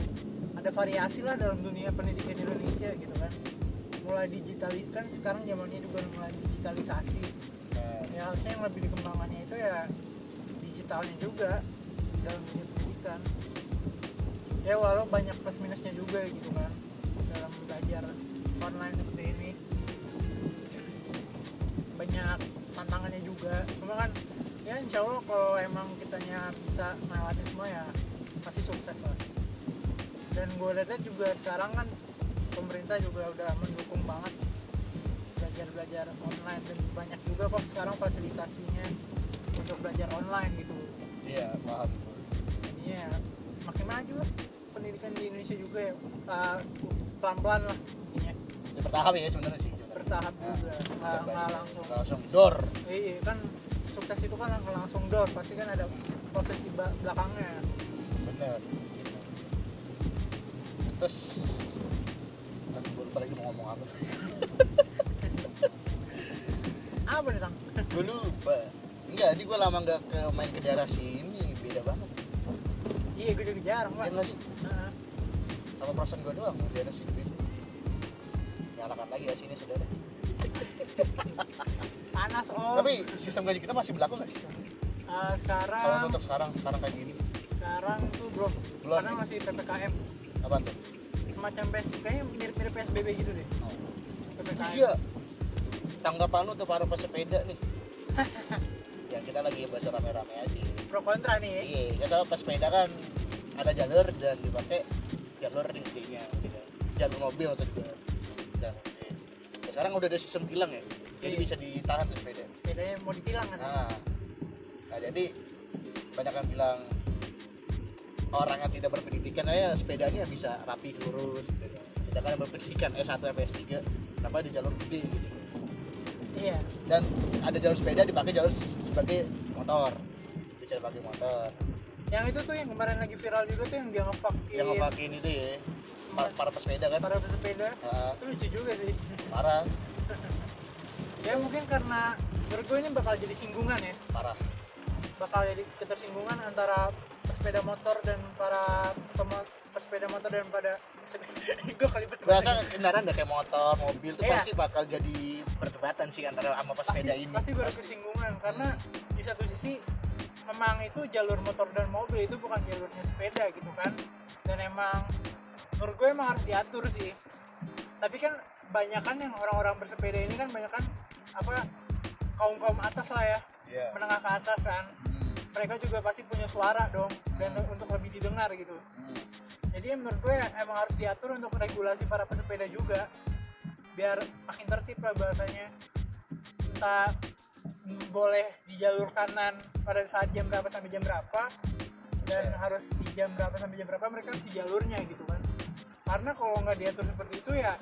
Speaker 1: ada variasi lah dalam dunia pendidikan Indonesia gitu kan mulai digitali kan sekarang zamannya juga mulai digitalisasi
Speaker 2: Eh,
Speaker 1: ya harusnya yang lebih dikembangkannya itu ya digitalnya juga dalam dunia pendidikan ya walau banyak plus minusnya juga gitu kan dalam belajar online seperti ini banyak tantangannya juga cuma kan ya insya Allah kalau emang kitanya bisa melewati semua ya pasti sukses lah dan gue lihat juga sekarang kan pemerintah juga udah mendukung banget belajar-belajar online dan banyak juga kok sekarang fasilitasinya untuk belajar online gitu
Speaker 2: iya paham gue
Speaker 1: jadinya ya semakin maju lah pendidikan di Indonesia juga ya eh, pelan-pelan lah intinya
Speaker 2: ya, bertahap ya sebenarnya sih sebenarnya.
Speaker 1: bertahap
Speaker 2: Nah,
Speaker 1: juga nggak
Speaker 2: step by
Speaker 1: nggak
Speaker 2: step.
Speaker 1: langsung
Speaker 2: Nggak langsung dor
Speaker 1: iya kan sukses itu kan nggak langsung door pasti kan ada proses di ba- belakangnya
Speaker 2: bener terus kan gue lupa lagi mau ngomong apa
Speaker 1: apa nih tang
Speaker 2: gue lupa enggak ini gue lama nggak ke main ke daerah sini beda banget
Speaker 1: iya gue juga jarang
Speaker 2: ya
Speaker 1: pak Ah,
Speaker 2: nggak sih
Speaker 1: Heeh.
Speaker 2: apa perasaan gue doang di daerah sini beda nyalakan lagi ya sini saudara
Speaker 1: panas om
Speaker 2: tapi sistem gaji kita masih berlaku nggak sih
Speaker 1: Eh,
Speaker 2: kalau
Speaker 1: sekarang
Speaker 2: untuk sekarang sekarang kayak gini
Speaker 1: sekarang tuh belum
Speaker 2: Belum,
Speaker 1: karena
Speaker 2: ya?
Speaker 1: masih ppkm
Speaker 2: apa tuh
Speaker 1: semacam PSBB kayaknya mirip-mirip PSBB gitu deh PPKM
Speaker 2: iya tanggapan lu tuh para pesepeda nih ya kita lagi bahas rame-rame aja
Speaker 1: pro kontra nih
Speaker 2: Iya, nggak sama pesepeda kan ada jalur dan dipakai jalur intinya, gitu. jalur mobil atau juga. Dan nah, sekarang udah ada sistem tilang ya, jadi
Speaker 1: Iya.
Speaker 2: bisa ditahan tuh sepeda.
Speaker 1: sepedanya mau ditilang kan
Speaker 2: Nah, nah jadi banyak yang bilang orang yang tidak berpendidikan aja sepedanya bisa rapi lurus gitu ya. Sedangkan yang berpendidikan S1 sampai S3 kenapa di jalur gede gitu.
Speaker 1: iya
Speaker 2: Dan ada jalur sepeda dipakai jalur sebagai motor. Bisa cewek pakai motor
Speaker 1: yang itu tuh yang kemarin lagi viral juga tuh yang dia ngefuckin
Speaker 2: yang ngepakein itu ya para, para pesepeda kan
Speaker 1: para pesepeda
Speaker 2: Ah,
Speaker 1: itu lucu juga sih
Speaker 2: parah
Speaker 1: ya mungkin karena menurut gue ini bakal jadi singgungan ya
Speaker 2: parah
Speaker 1: bakal jadi ketersinggungan antara pesepeda motor dan para pemo- pesepeda motor dan pada gue kalibet
Speaker 2: berasa kendaraan udah kayak motor mobil tuh
Speaker 1: Iya.
Speaker 2: pasti bakal jadi perdebatan sih antara sama
Speaker 1: pasti,
Speaker 2: pesepeda ini
Speaker 1: pasti berkesinggungan karena di satu sisi memang itu jalur motor dan mobil itu bukan jalurnya sepeda gitu kan dan emang menurut gue emang harus diatur sih tapi kan banyakan yang orang-orang bersepeda ini kan banyakan apa kaum kaum atas lah ya
Speaker 2: Iya.
Speaker 1: menengah ke atas kan
Speaker 2: Hmm,
Speaker 1: mereka juga pasti punya suara dong dan untuk lebih didengar gitu
Speaker 2: hmm.
Speaker 1: jadi menurut gue ya, emang harus diatur untuk regulasi para pesepeda juga biar makin tertib lah bahasanya tak boleh di jalur kanan pada saat jam berapa sampai jam berapa dan
Speaker 2: Bisa.
Speaker 1: harus di jam berapa sampai jam berapa mereka harus di jalurnya gitu kan karena kalau nggak diatur seperti itu ya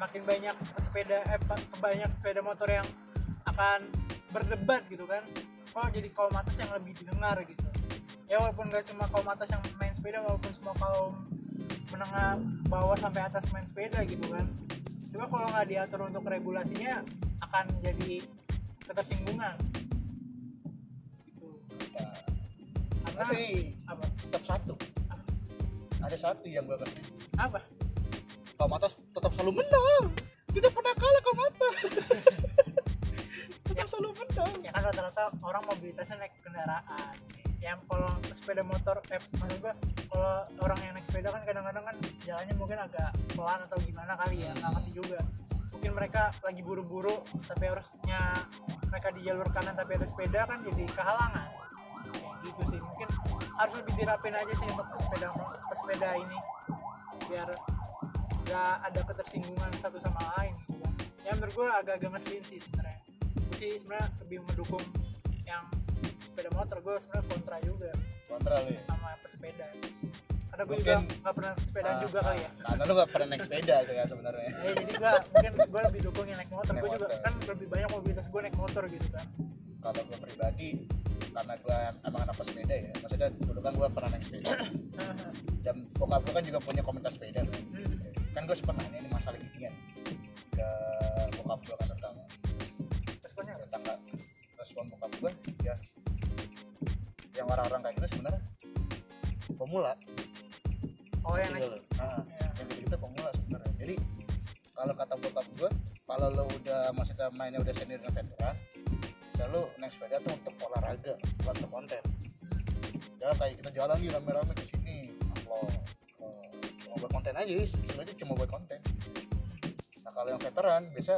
Speaker 1: makin banyak sepeda eh pa- banyak sepeda motor yang akan berdebat gitu kan kalau jadi kaum atas yang lebih didengar gitu ya walaupun gak cuma kaum atas yang main sepeda walaupun semua kaum menengah bawah sampai atas main sepeda gitu kan cuma kalau nggak diatur untuk regulasinya akan jadi ketersinggungan gitu
Speaker 2: Nah,
Speaker 1: karena
Speaker 2: tapi
Speaker 1: apa
Speaker 2: tetap satu ada satu yang gue ngerti
Speaker 1: apa
Speaker 2: kaum atas tetap selalu menang tidak pernah kalah kaum atas tetap selalu menang
Speaker 1: ya kan rata-rata orang mobilitasnya naik kendaraan yang kalau sepeda motor eh maksud gua kalau orang yang naik sepeda kan kadang-kadang kan jalannya mungkin agak pelan atau gimana kali ya nggak ngerti juga mungkin mereka lagi buru-buru tapi harusnya mereka di jalur kanan tapi ada sepeda kan jadi kehalangan Kayak gitu sih mungkin harus lebih dirapin aja sih untuk sepeda sepeda ini biar nggak ada ketersinggungan satu sama lain gitu kan ya menurut gue agak-agak ngeselin sih sebenarnya gue sih sebenarnya lebih mendukung yang sepeda motor gue sebenarnya kontra juga
Speaker 2: kontra lu ya
Speaker 1: sama pesepeda karena gue
Speaker 2: Mungkin-
Speaker 1: juga nggak pernah sepedaan
Speaker 2: Ah,
Speaker 1: juga kali ya
Speaker 2: ah, karena lu gak pernah naik sepeda sih ya sebenarnya
Speaker 1: ya jadi gue mungkin gue lebih dukung yang naik motor
Speaker 2: Naik
Speaker 1: gue juga
Speaker 2: motor.
Speaker 1: kan lebih banyak mobilitas gue naik motor gitu kan
Speaker 2: kalau gue pribadi karena gue emang anak sepeda ya maksudnya dulu kan gue pernah naik sepeda Hmm. dan bokap gue kan juga punya komunitas sepeda kan,
Speaker 1: Hmm.
Speaker 2: kan gue sempat nanya nih masalah ginian ke bokap gue kan tentang
Speaker 1: responnya apa?
Speaker 2: tentang respon bokap gue ya yang orang-orang kayak gitu sebenarnya pemula
Speaker 1: oh yang naik
Speaker 2: gitu loh. Ah,
Speaker 1: Iya.
Speaker 2: yang kayak gitu pemula sebenarnya jadi kalau kata bokap gue kalau lo udah maksudnya mainnya udah senior dan veteran bisa lo naik sepeda tuh untuk olahraga bukan untuk konten ya kayak kita jalan nih rame-rame ke sini upload Eh, cuma buat konten aja sih sebenarnya cuma buat konten nah kalau yang veteran biasa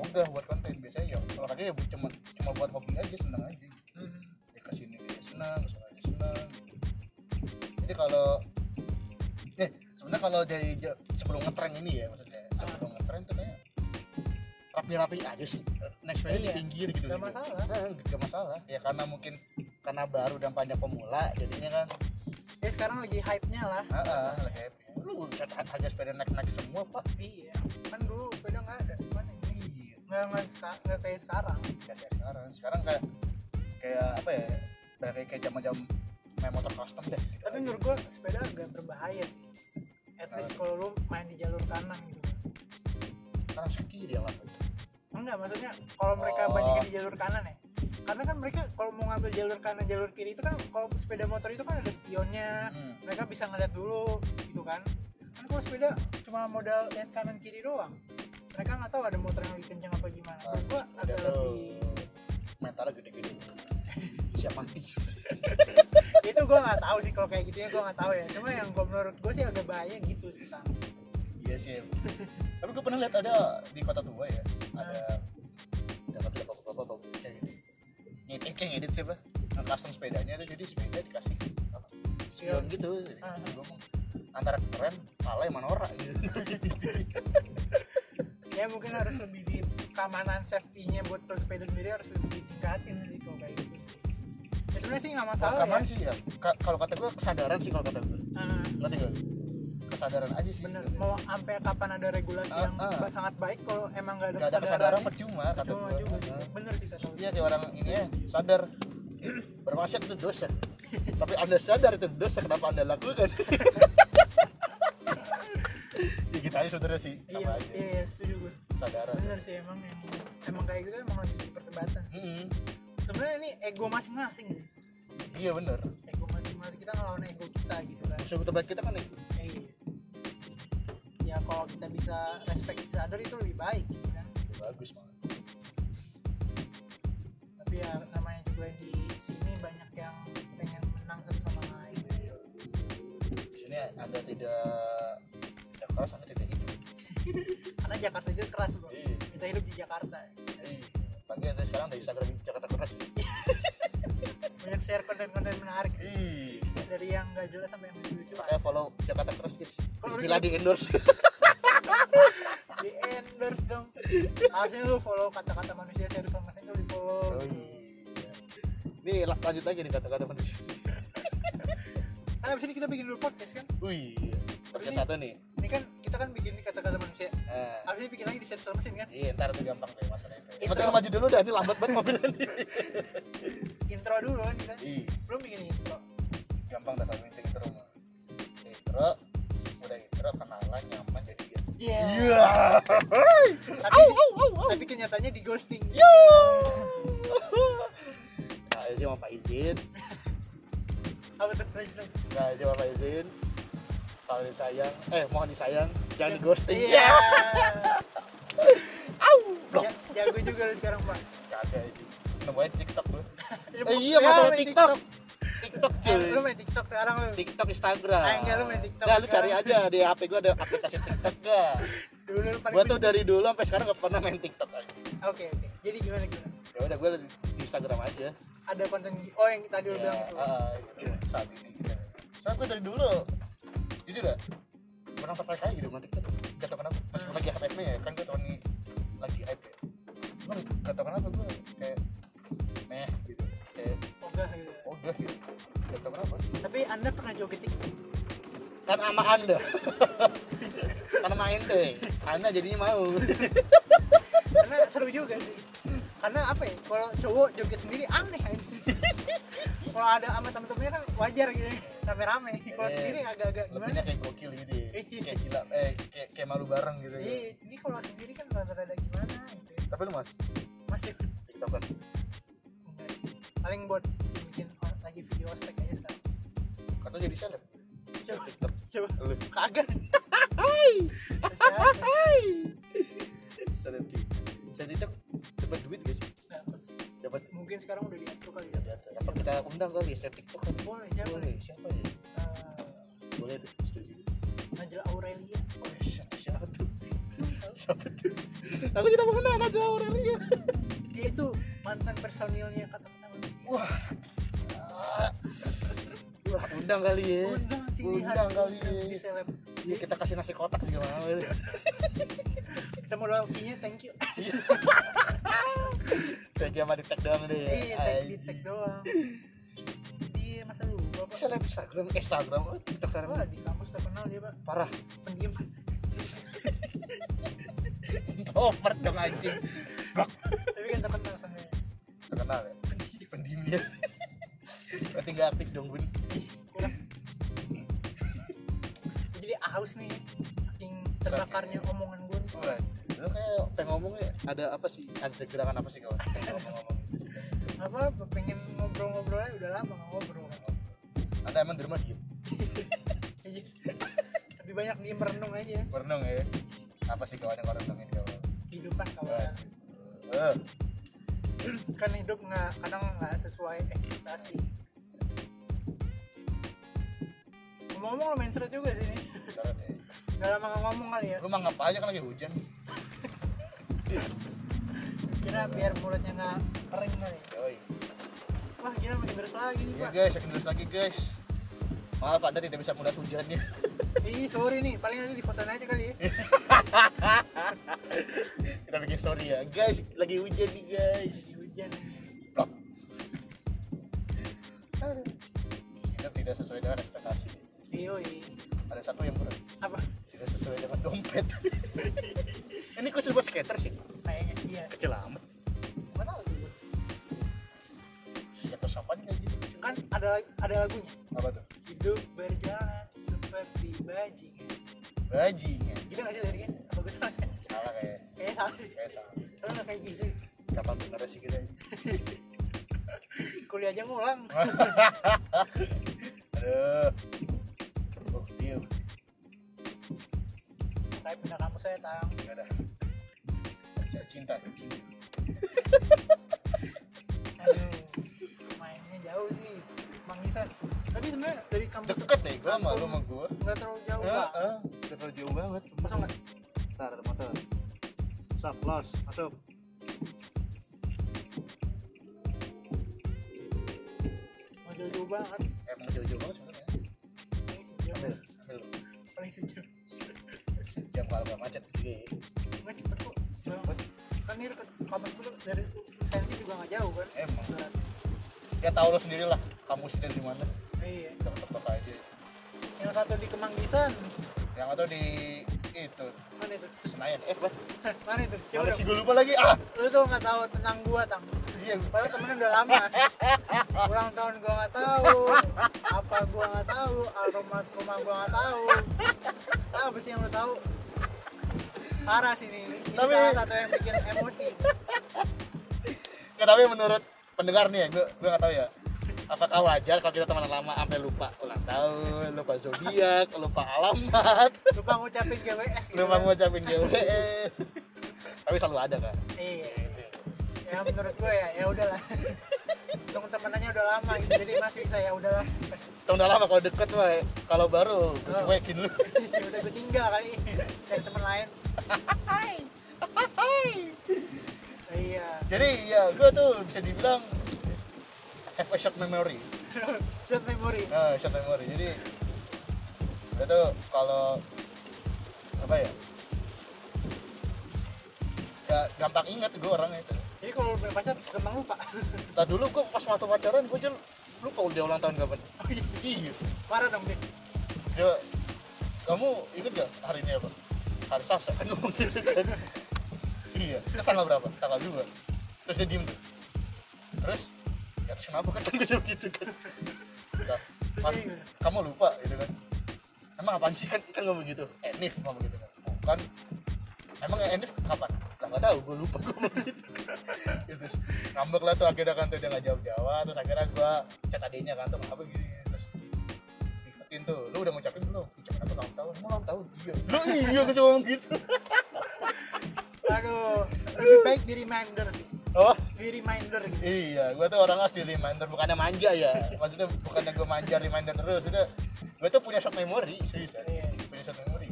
Speaker 2: ogah buat konten biasanya ya olahraga ya cuma cuma buat hobi aja seneng aja
Speaker 1: Hmm.
Speaker 2: ya ke sini dia senang ke sana dia senang gitu. jadi kalau eh sebenarnya kalau dari ja- sebelum ngetren ini ya maksudnya
Speaker 1: Ah.
Speaker 2: sebelum ngetren tuh kayak rapi-rapi aja sih next
Speaker 1: Iya,
Speaker 2: value di pinggir gitu
Speaker 1: nggak
Speaker 2: gitu.
Speaker 1: masalah.
Speaker 2: Eh, nggak masalah ya karena mungkin karena baru dan banyak pemula jadinya kan
Speaker 1: ya sekarang lagi hype nya lah
Speaker 2: ah, ah, lagi happy lu udah harga sepeda naik-naik semua pak
Speaker 1: iya kan dulu sepeda nggak ada mana ini
Speaker 2: iya
Speaker 1: nggak nggak seka- nggak kayak sekarang
Speaker 2: nggak kayak Ya sekarang sekarang kayak kayak apa ya kayak kayak jam-jam main motor custom deh
Speaker 1: tapi menurut gua sepeda agak berbahaya sih at
Speaker 2: Ah.
Speaker 1: least kalau lu main di jalur kanan gitu
Speaker 2: sekarang ski dia lah
Speaker 1: enggak maksudnya kalau mereka
Speaker 2: Oh.
Speaker 1: banyak di jalur kanan ya karena kan mereka kalau mau ngambil jalur kanan jalur kiri itu kan kalau sepeda motor itu kan ada spionnya
Speaker 2: Hmm.
Speaker 1: mereka bisa ngeliat dulu gitu kan kan kalau sepeda cuma modal lihat kanan kiri doang mereka nggak tahu ada motor yang lagi kenceng apa gimana menurut gua
Speaker 2: ada
Speaker 1: agak
Speaker 2: tuh
Speaker 1: lebih
Speaker 2: mentalnya gede-gede siap mati
Speaker 1: itu gua nggak tahu sih kalau kayak gitu ya gua nggak tahu ya cuma yang gua menurut gua sih agak bahaya gitu sih Tam.
Speaker 2: iya sih tapi gue pernah lihat ada di kota tua ya ada dapat lihat bapak-bapak bawa bocah gitu ngedit kayak ngedit siapa nah, custom sepedanya tuh jadi sepeda dikasih apa, spion gitu Jadi,
Speaker 1: Ah.
Speaker 2: gua ngomong, antara keren pala yang manora gitu
Speaker 1: ya mungkin harus lebih di keamanan safety-nya buat pesepeda sendiri harus lebih ditingkatin sih kalau kayak gitu sih ya sebenarnya sih nggak masalah
Speaker 2: Rekaman
Speaker 1: ya
Speaker 2: sih ya Ka- kalau kata gue kesadaran sih kalau kata gue
Speaker 1: Ah,
Speaker 2: ngerti gak lu? kesadaran aja sih
Speaker 1: bener mau sampai kapan ada regulasi
Speaker 2: Ah,
Speaker 1: yang
Speaker 2: ah.
Speaker 1: sangat baik kalau emang nggak ada
Speaker 2: gak ada
Speaker 1: kesadaran
Speaker 2: kesadaran Iya,
Speaker 1: iya,
Speaker 2: percuma kata
Speaker 1: cuma
Speaker 2: gue
Speaker 1: juga sih bener sih kata lu
Speaker 2: iya kayak orang ini ya sadar bermaksud itu dosa tapi anda sadar itu dosa kenapa anda lakukan ya kita aja sebenarnya sih
Speaker 1: iya
Speaker 2: sama aja
Speaker 1: iya iya, setuju gue
Speaker 2: sadaran
Speaker 1: bener sih emang emang, emang kayak gitu emang lagi perdebatan sih
Speaker 2: Mm-mm.
Speaker 1: sebenarnya ini ego masing-masing sih
Speaker 2: iya bener
Speaker 1: ego masing-masing kita ngelawan ego kita gitu kan
Speaker 2: musuh terbaik kita kan ego.
Speaker 1: Eh, ya kalau kita bisa respect each other itu lebih baik gitu kan
Speaker 2: Ya, bagus banget
Speaker 1: tapi ya namanya juga di sini banyak yang pengen menang satu sama lain
Speaker 2: Iya. Di sini anda tidak tidak keras anda tidak hidup
Speaker 1: karena Jakarta itu keras bro
Speaker 2: Iya.
Speaker 1: kita hidup di Jakarta
Speaker 2: Iya. pagi anda sekarang dari Instagram Jakarta keras Iya.
Speaker 1: banyak share konten-konten menarik
Speaker 2: Iya. Ih,
Speaker 1: dari yang gak jelas sampai yang lucu-lucu
Speaker 2: makanya follow Jakarta keras kids
Speaker 1: Kalau
Speaker 2: Bismillah di endorse
Speaker 1: di endorse dong harusnya lu follow kata-kata manusia serius sama itu di follow
Speaker 2: Oh, iya. Nih la- lanjut lagi nih kata-kata manusia.
Speaker 1: karena Kan abis ini kita bikin dulu podcast kan
Speaker 2: Wih, kerja
Speaker 1: Ini-
Speaker 2: satu nih.
Speaker 1: ini kan kita kan bikin ini kata-kata manusia
Speaker 2: Nah,
Speaker 1: abis ini bikin lagi di serius sama mesin kan
Speaker 2: iya ntar tuh gampang deh masalah itu.
Speaker 1: Itu-
Speaker 2: Itu maju dulu dah, ini lambat banget mobilnya nih.
Speaker 1: intro dulu kan kita
Speaker 2: Ih,
Speaker 1: belum bikin intro
Speaker 2: gampang dah kalau minta intro mah. Intro, udah intro kenalan nyaman jadi dia.
Speaker 1: iya
Speaker 2: Iya.
Speaker 1: tapi, tapi kenyataannya di ghosting
Speaker 2: Yo. Nah, Izin mau Pak Izin.
Speaker 1: apa tuh lanjut, lanjut.
Speaker 2: Nah, Izin mau Pak Izin. Kalau disayang, eh mohon disayang, jangan di ghosting.
Speaker 1: iya
Speaker 2: Au. Loh,
Speaker 1: Ja- jago juga lu sekarang pak
Speaker 2: kagak ini. Nemuin TikTok gue.
Speaker 1: Ya,
Speaker 2: Eh,
Speaker 1: bu-
Speaker 2: iya
Speaker 1: ya,
Speaker 2: masalah
Speaker 1: main
Speaker 2: TikTok. Tiktok
Speaker 1: Eh,
Speaker 2: cuy.
Speaker 1: lu main tiktok sekarang lu
Speaker 2: TikTok Instagram.
Speaker 1: Ah, enggak, lu main TikTok
Speaker 2: Enggak, lu cari aja
Speaker 1: sekarang.
Speaker 2: di HP gua ada aplikasi TikTok enggak.
Speaker 1: dulu lu paling
Speaker 2: gua tuh dari dulu sampai sekarang gak pernah main TikTok aja.
Speaker 1: oke oke jadi gimana gimana
Speaker 2: Ya udah gua di Instagram aja.
Speaker 1: ada konten oh yang tadi
Speaker 2: Ya,
Speaker 1: lu bilang itu
Speaker 2: ah, gitu, saat ini gitu. Soalnya gua dari dulu jujur ya pernah tertarik aja gitu sama TikTok. Gak tau kenapa. Pas gua lagi hype nya ya kan gua tahun ini lagi hype ya. Gua gak tau kenapa gua kayak meh gitu. Kayak
Speaker 1: ogah gitu
Speaker 2: ogah gitu. Gak tau kenapa.
Speaker 1: tapi anda pernah joget tiktok
Speaker 2: kan sama anda karena main deh anda jadinya mau
Speaker 1: karena seru juga sih karena apa ya kalau cowok joget sendiri aneh aja. kalau ada sama temen-temennya kan wajar gitu rame-rame kalau
Speaker 2: Jadi,
Speaker 1: sendiri agak-agak
Speaker 2: lebihnya
Speaker 1: gimana
Speaker 2: kayak gokil gitu ya
Speaker 1: Iya.
Speaker 2: kayak gila eh kayak, kayak malu bareng gitu ya.
Speaker 1: iya ini kalau sendiri kan rada-rada gimana gitu ya.
Speaker 2: tapi lu masih kan?
Speaker 1: masih
Speaker 2: tiktokan
Speaker 1: enggak. paling buat bikin lagi video ospek aja sekarang
Speaker 2: kata jadi seleb
Speaker 1: coba
Speaker 2: tiktok
Speaker 1: coba
Speaker 2: lu
Speaker 1: kagak
Speaker 2: hai
Speaker 1: Masih ada.
Speaker 2: hai seleb tiktok Seleb tiktok dapat duit gak sih
Speaker 1: Nah,
Speaker 2: dapat
Speaker 1: mungkin sekarang udah diatur kali ya
Speaker 2: Ya, apa kita undang kali ya seleb tiktok kali?
Speaker 1: boleh siapa
Speaker 2: boleh
Speaker 1: nih
Speaker 2: siapa ya
Speaker 1: Eh,
Speaker 2: boleh tuh setuju
Speaker 1: Najla Aurelia
Speaker 2: oh
Speaker 1: iya,
Speaker 2: siapa siapa tuh siapa tuh lalu kita mau kenal aja orangnya
Speaker 1: dia itu mantan personilnya kata-kata manusia
Speaker 2: Wah. Wah, undang kali ya.
Speaker 1: undang sih
Speaker 2: Undang kali
Speaker 1: di
Speaker 2: ya.
Speaker 1: seleb
Speaker 2: Iya, kita kasih nasi kotak juga mau. ya.
Speaker 1: kita mau doang fee nya thank you
Speaker 2: Saya cuma di tag doang deh. ya.
Speaker 1: iya tag di tag doang di masa dulu
Speaker 2: Bisa
Speaker 1: bapak
Speaker 2: lihat Instagram, Instagram, oh, TikTok kan
Speaker 1: Wah, di kampus terkenal dia pak
Speaker 2: parah.
Speaker 1: pendiam
Speaker 2: Over dong anjing.
Speaker 1: tapi kan terkenal sama
Speaker 2: Terkenal ya. Pendiam ya. Berarti nggak aktif dong, Bun.
Speaker 1: kurang Gua jadi aus nih saking terbakarnya omongan gue nih.
Speaker 2: Lu kayak pengen ngomong ya, ada apa sih? Ada gerakan apa sih kawan? Pengen ngomong-ngomong.
Speaker 1: apa pengen ngobrol-ngobrol aja udah lama nggak ngobrol
Speaker 2: Anda emang di rumah diem?
Speaker 1: lebih banyak dia merenung aja
Speaker 2: Berenang ya? Apa sih kawan yang orang tengin kawan?
Speaker 1: kehidupan kawan
Speaker 2: Eh,
Speaker 1: kan hidup nggak kadang nggak sesuai ekspektasi ngomong-ngomong lo main seret juga sih nih
Speaker 2: sekarang ya.
Speaker 1: udah lama nggak ngomong kali ya
Speaker 2: Lu mah ngapa aja kan lagi hujan?
Speaker 1: kira biar mulutnya nggak kering kali ya.
Speaker 2: Yoi.
Speaker 1: wah gila makin beres lagi nih
Speaker 2: Iya
Speaker 1: pak
Speaker 2: guys, yang terus lagi guys. Maaf Anda tidak bisa mudah ya. hujannya.
Speaker 1: ih sorry nih paling nanti di fotoin aja kali ya
Speaker 2: Kita bikin story ya. Guys, lagi hujan nih guys.
Speaker 1: Lagi hujan
Speaker 2: Plak. Aduh. Hidup tidak sesuai dengan ekspektasi.
Speaker 1: iyo
Speaker 2: Ada satu yang kurang.
Speaker 1: apa
Speaker 2: Tidak sesuai dengan dompet. Ini khusus buat skater sih.
Speaker 1: kayaknya iya
Speaker 2: Kecil amat.
Speaker 1: nggak tahu juga
Speaker 2: Skater siapa
Speaker 1: kan ada ada lagunya
Speaker 2: apa tuh
Speaker 1: hidup berjalan seperti bajingan
Speaker 2: bajingan
Speaker 1: gila nggak sih liriknya apa gue salah
Speaker 2: salah kayak
Speaker 1: kayaknya salah sih
Speaker 2: kayak salah
Speaker 1: soalnya nggak kayak gitu
Speaker 2: kapan bener sih kita
Speaker 1: kuliahnya ngulang
Speaker 2: aduh oh dia
Speaker 1: kayak pindah kampus saya tang
Speaker 2: nggak ada Bisa cinta cinta.
Speaker 1: aduh mainnya jauh sih Mang Isan tapi sebenarnya dari kampus
Speaker 2: deket Ya, eh. deh gua sama lu sama gua
Speaker 1: nggak terlalu jauh
Speaker 2: Heeh,
Speaker 1: Bang.
Speaker 2: terlalu jauh banget
Speaker 1: masa nggak
Speaker 2: ntar ada motor sap los masuk
Speaker 1: nggak jauh-jauh banget
Speaker 2: emang jauh-jauh banget sebenarnya
Speaker 1: paling sejam
Speaker 2: ambil ambil lu.
Speaker 1: paling sejam
Speaker 2: sejam kalau nggak macet juga ya.
Speaker 1: nggak cepet kok Bang. kan ini deket kampus dulu dari sensi juga nggak jauh kan
Speaker 2: emang
Speaker 1: Berat.
Speaker 2: ya tau lo sendiri lah kampus kita di mana
Speaker 1: iya
Speaker 2: tetep aja
Speaker 1: yang satu di Kemang Isan
Speaker 2: yang atau di itu
Speaker 1: mana itu
Speaker 2: Senayan eh bah
Speaker 1: Hah, mana itu coba
Speaker 2: mana
Speaker 1: dong.
Speaker 2: sih gue lupa lagi ah
Speaker 1: lu tuh nggak tahu tentang gua tang
Speaker 2: iya
Speaker 1: padahal temennya udah lama ulang tahun gua nggak tahu apa gua nggak tahu alamat rumah gua nggak tahu ah, apa sih yang lu tahu parah sih ini, ini
Speaker 2: Tapi-
Speaker 1: salah satu yang bikin emosi
Speaker 2: nggak tapi menurut pendengar nih ya gue gue nggak tahu ya apakah wajar kalau kita teman lama sampai lupa ulang tahun lupa zodiak lupa alamat
Speaker 1: lupa ngucapin GWS gitu
Speaker 2: lupa
Speaker 1: kan.
Speaker 2: ngucapin GWS tapi selalu ada kan
Speaker 1: iya ya menurut gua ya ya udahlah temen temenannya udah lama gitu jadi masih bisa ya udahlah
Speaker 2: Tong udah lama kalau deket mah kalau baru gue
Speaker 1: Oh.
Speaker 2: cuekin lu
Speaker 1: Ya udah gue tinggal kali cari temen lain iya
Speaker 2: jadi ya gue tuh bisa dibilang have a short memory
Speaker 1: short memory
Speaker 2: nah short memory jadi gue tuh kalau apa ya ya gampang ingat gue orangnya itu
Speaker 1: jadi kalau lu punya pacar gampang lupa
Speaker 2: Nah dulu gua pas waktu pacaran gua jel lupa udah ulang tahun kapan.
Speaker 1: oh iya
Speaker 2: Iya.
Speaker 1: marah dong dia
Speaker 2: Dia, kamu inget gak hari ini apa? Hari Selasa kan ngomong gitu kan. iya. Terus tanggal berapa? Tanggal 2. Terus dia diem tuh. Terus ya terus kenapa kan gue jawab gitu kan. Nah, Mas, kamu lupa gitu kan. Emang apaan sih kan kan ngomong gitu. Enif ngomong gitu kan. Bukan. Emang Enif kapan? Lah nggak tahu, gue lupa gue ngomong gitu. Ya, terus ngambek lah tuh akhirnya kan tuh dia nggak jawab jawab terus akhirnya gua chat adiknya kan tuh apa gini gini. terus ingetin tuh lu udah ngucapin belum ngucapin aku ulang tahun mau ulang tahun iya lu iya gue cuma ngomong gitu
Speaker 1: aduh lebih baik di reminder sih
Speaker 2: oh
Speaker 1: di reminder gitu
Speaker 2: iya gua tuh orang harus di reminder bukannya manja ya maksudnya bukannya gua manja reminder terus itu gua tuh punya short memory seriusan
Speaker 1: Iya.
Speaker 2: punya short memory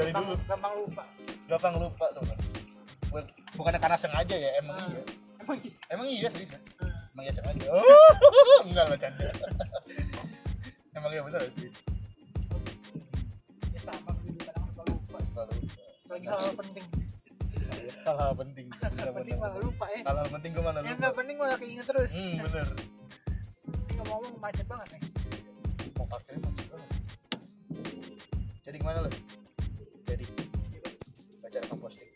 Speaker 2: dari
Speaker 1: gampang,
Speaker 2: dulu
Speaker 1: gampang lupa
Speaker 2: gampang lupa sebenarnya Bu- bukannya karena sengaja ya emang
Speaker 1: Ah.
Speaker 2: iya
Speaker 1: emang iya
Speaker 2: emang iya seriusan
Speaker 1: Ah.
Speaker 2: Emang ya canda? Enggak lah canda. Emang ya bener sih.
Speaker 1: ya sama gue juga kadang suka lupa
Speaker 2: Kalau
Speaker 1: lagi hal penting
Speaker 2: hal penting.
Speaker 1: hal penting malah lupa ya
Speaker 2: Hal penting gue mana
Speaker 1: yang
Speaker 2: lupa.
Speaker 1: nggak penting malah keinget terus
Speaker 2: Hmm bener.
Speaker 1: ini ngomong-ngomong macet banget eh. nih
Speaker 2: Mau parkirnya macet banget. Jadi gimana lo? Jadi baca komposting.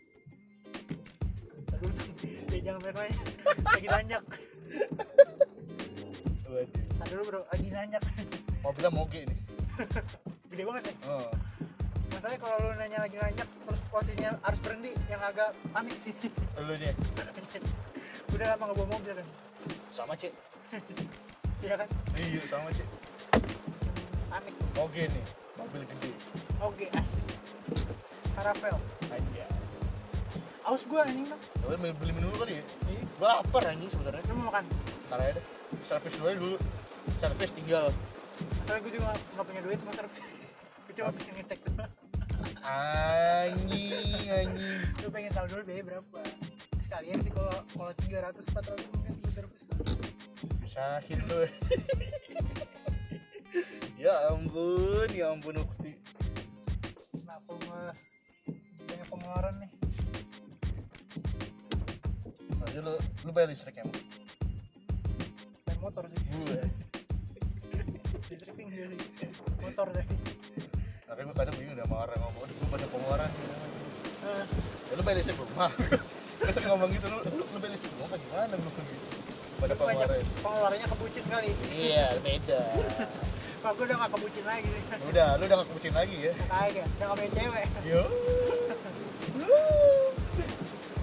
Speaker 1: Aduh, ya jangan main-main lagi nanjak
Speaker 2: Waduh.
Speaker 1: Tadi dulu bro, lagi nanjak
Speaker 2: Mobilnya moge nih.
Speaker 1: Gede banget nih
Speaker 2: Oh.
Speaker 1: Masalahnya kalau lu nanya lagi nanjak Terus posisinya harus berhenti Yang agak panik sih
Speaker 2: Lu nih
Speaker 1: Udah lama nggak bawa mobil kan
Speaker 2: sama cek.
Speaker 1: Iya kan?
Speaker 2: Iya sama cek.
Speaker 1: Panik
Speaker 2: Moge nih. Mobil gede.
Speaker 1: Oke, asik Caravel
Speaker 2: Aja.
Speaker 1: Aus gua anjing bang
Speaker 2: Tapi mau beli minum dulu kali ya.
Speaker 1: Iya,
Speaker 2: Gue lapar anjing sebenarnya.
Speaker 1: lu mau makan
Speaker 2: Ntar aja deh. Servis dulu aja dulu. Servis tinggal.
Speaker 1: Masalahnya gua juga nggak punya duit motor Gua cuma pengen ngecek doang.
Speaker 2: Anjing, anjing.
Speaker 1: Gua pengen tahu dulu biaya berapa Sekalian sih kalau kalau 300 400 mungkin gua servis kali.
Speaker 2: Usahin lu. ya ampun, ya ampun Ukti.
Speaker 1: Kenapa gua banyak pengeluaran nih
Speaker 2: Berarti lu lu bayar listrik ya, emang.
Speaker 1: Dan motor sih
Speaker 2: Gue.
Speaker 1: listrik sih enggak sih. motor deh
Speaker 2: Tapi gue kadang bingung udah sama orang ngomong, gue pada pengeluaran gitu.
Speaker 1: Eh,
Speaker 2: Ya lu bayar listrik rumah. Gue sering ngomong gitu, lu, lu, lu bayar listrik rumah apa gimana lu gitu. daripada
Speaker 1: Tapi banyak
Speaker 2: pengeluaran
Speaker 1: pengeluarannya kebucin kali
Speaker 2: iya beda
Speaker 1: kalau gue udah gak kebucin lagi nih
Speaker 2: udah lu udah gak kebucin lagi ya
Speaker 1: makanya udah gak punya cewek
Speaker 2: yo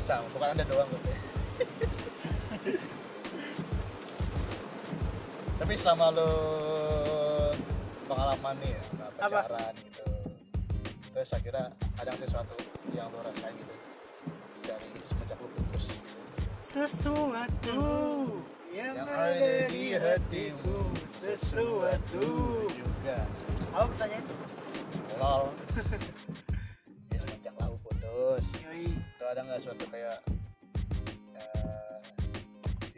Speaker 2: sama bukan anda doang gitu ya. tapi selama lu pengalaman nih ya sama
Speaker 1: Apa?
Speaker 2: pacaran gitu terus akhirnya ada nggak sih sesuatu yang lu rasain gitu dari semenjak lu putus gitu.
Speaker 1: sesuatu yang,
Speaker 2: yang
Speaker 1: ada di hatiku sesuatu
Speaker 2: juga
Speaker 1: apa pertanyaan itu?
Speaker 2: lol ya semenjak lu putus
Speaker 1: yoi
Speaker 2: itu ada nggak suatu kayak eh,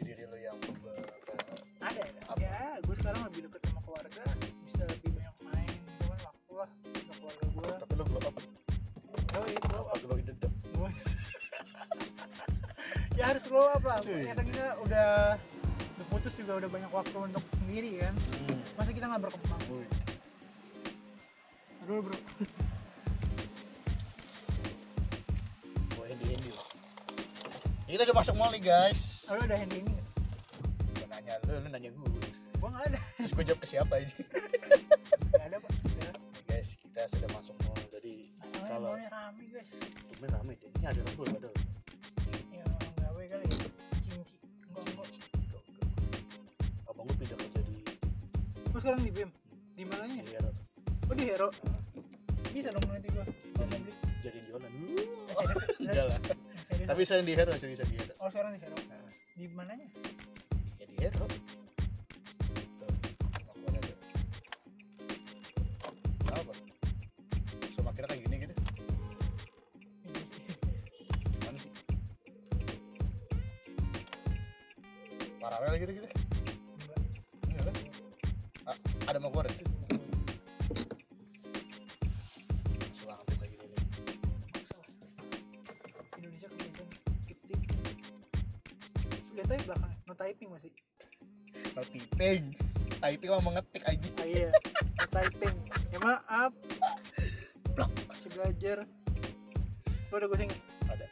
Speaker 2: di diri lu yang berubah kayak,
Speaker 1: ada
Speaker 2: Apa?
Speaker 1: ya gue sekarang lebih deket sama keluarga bisa lebih banyak main cuman waktu lah sama keluarga gue
Speaker 2: tapi lu belum gitu, apa
Speaker 1: yoi blow
Speaker 2: apa
Speaker 1: up
Speaker 2: belum hidup
Speaker 1: gue ya harus blow up lah
Speaker 2: Cuy.
Speaker 1: ternyata kita udah udah putus juga udah banyak waktu untuk sendiri kan
Speaker 2: hmm.
Speaker 1: masa kita nggak berkembang
Speaker 2: Wih.
Speaker 1: aduh bro
Speaker 2: Wah, ini ini loh. Ini kita udah masuk mall nih guys
Speaker 1: aduh udah handing
Speaker 2: gue nanya lu lu nanya gue
Speaker 1: gue nggak ada
Speaker 2: terus gue jawab ke siapa ini
Speaker 1: nggak ada pak Nggak ada.
Speaker 2: guys kita sudah masuk mall jadi
Speaker 1: masalahnya
Speaker 2: kalau
Speaker 1: maunya rame guys
Speaker 2: Tumben rame deh ini ada rambut padahal
Speaker 1: ya orang gawe kali ya cinci enggak enggak
Speaker 2: abang gue pindah kerja di
Speaker 1: gue sekarang di BEM di mananya
Speaker 2: di Hero. Nah,
Speaker 1: oh di Hero bisa dong nanti gue mau beli
Speaker 2: jadi jualan
Speaker 1: Eh,
Speaker 2: Iya.
Speaker 1: serius,
Speaker 2: enggak lah
Speaker 1: serius
Speaker 2: tapi saya di Hero saya bisa di Hero
Speaker 1: oh sekarang di Hero
Speaker 2: Nah.
Speaker 1: di mananya
Speaker 2: jadi hero apa so akhirnya kayak gini gitu gimana sih paralel gitu gitu iya kan A- ada mau keluar sih banget kayak gini nih.
Speaker 1: Indonesia kebiasaan fiktif Lihatnya belakang, no typing masih
Speaker 2: no typing typing mau mengetik aja
Speaker 1: Ah iya, no typing Ya maaf
Speaker 2: Blok.
Speaker 1: Masih belajar Gue udah goseng
Speaker 2: ada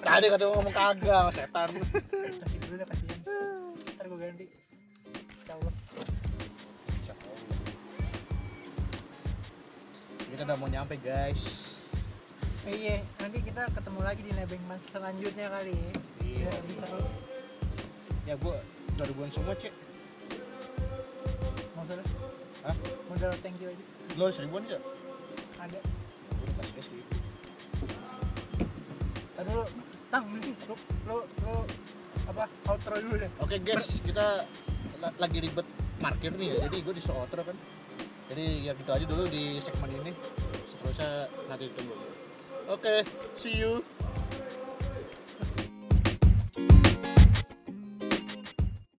Speaker 2: tadi kata gua ngomong kagak setan
Speaker 1: Kasih dulu deh kasihan Ntar gue ganti Insya Allah
Speaker 2: Insya Allah. kita udah mau nyampe guys
Speaker 1: Eh, Iya, nanti kita ketemu lagi di nebeng mas selanjutnya kali ya
Speaker 2: Iya.
Speaker 1: Biar bisa
Speaker 2: ya gua udah ribuan semua cek
Speaker 1: Modal
Speaker 2: Hah?
Speaker 1: Modal thank you aja
Speaker 2: lo seribuan ya
Speaker 1: Ada
Speaker 2: Gua udah kasih gitu. guys seribu
Speaker 1: Tadi lu Tang, nanti lu, lu, lu Apa, outro dulu deh
Speaker 2: oke guys kita la- lagi ribet parkir nih ya jadi gua di Sootro kan jadi ya gitu aja dulu di segmen ini seterusnya nanti tunggu oke see you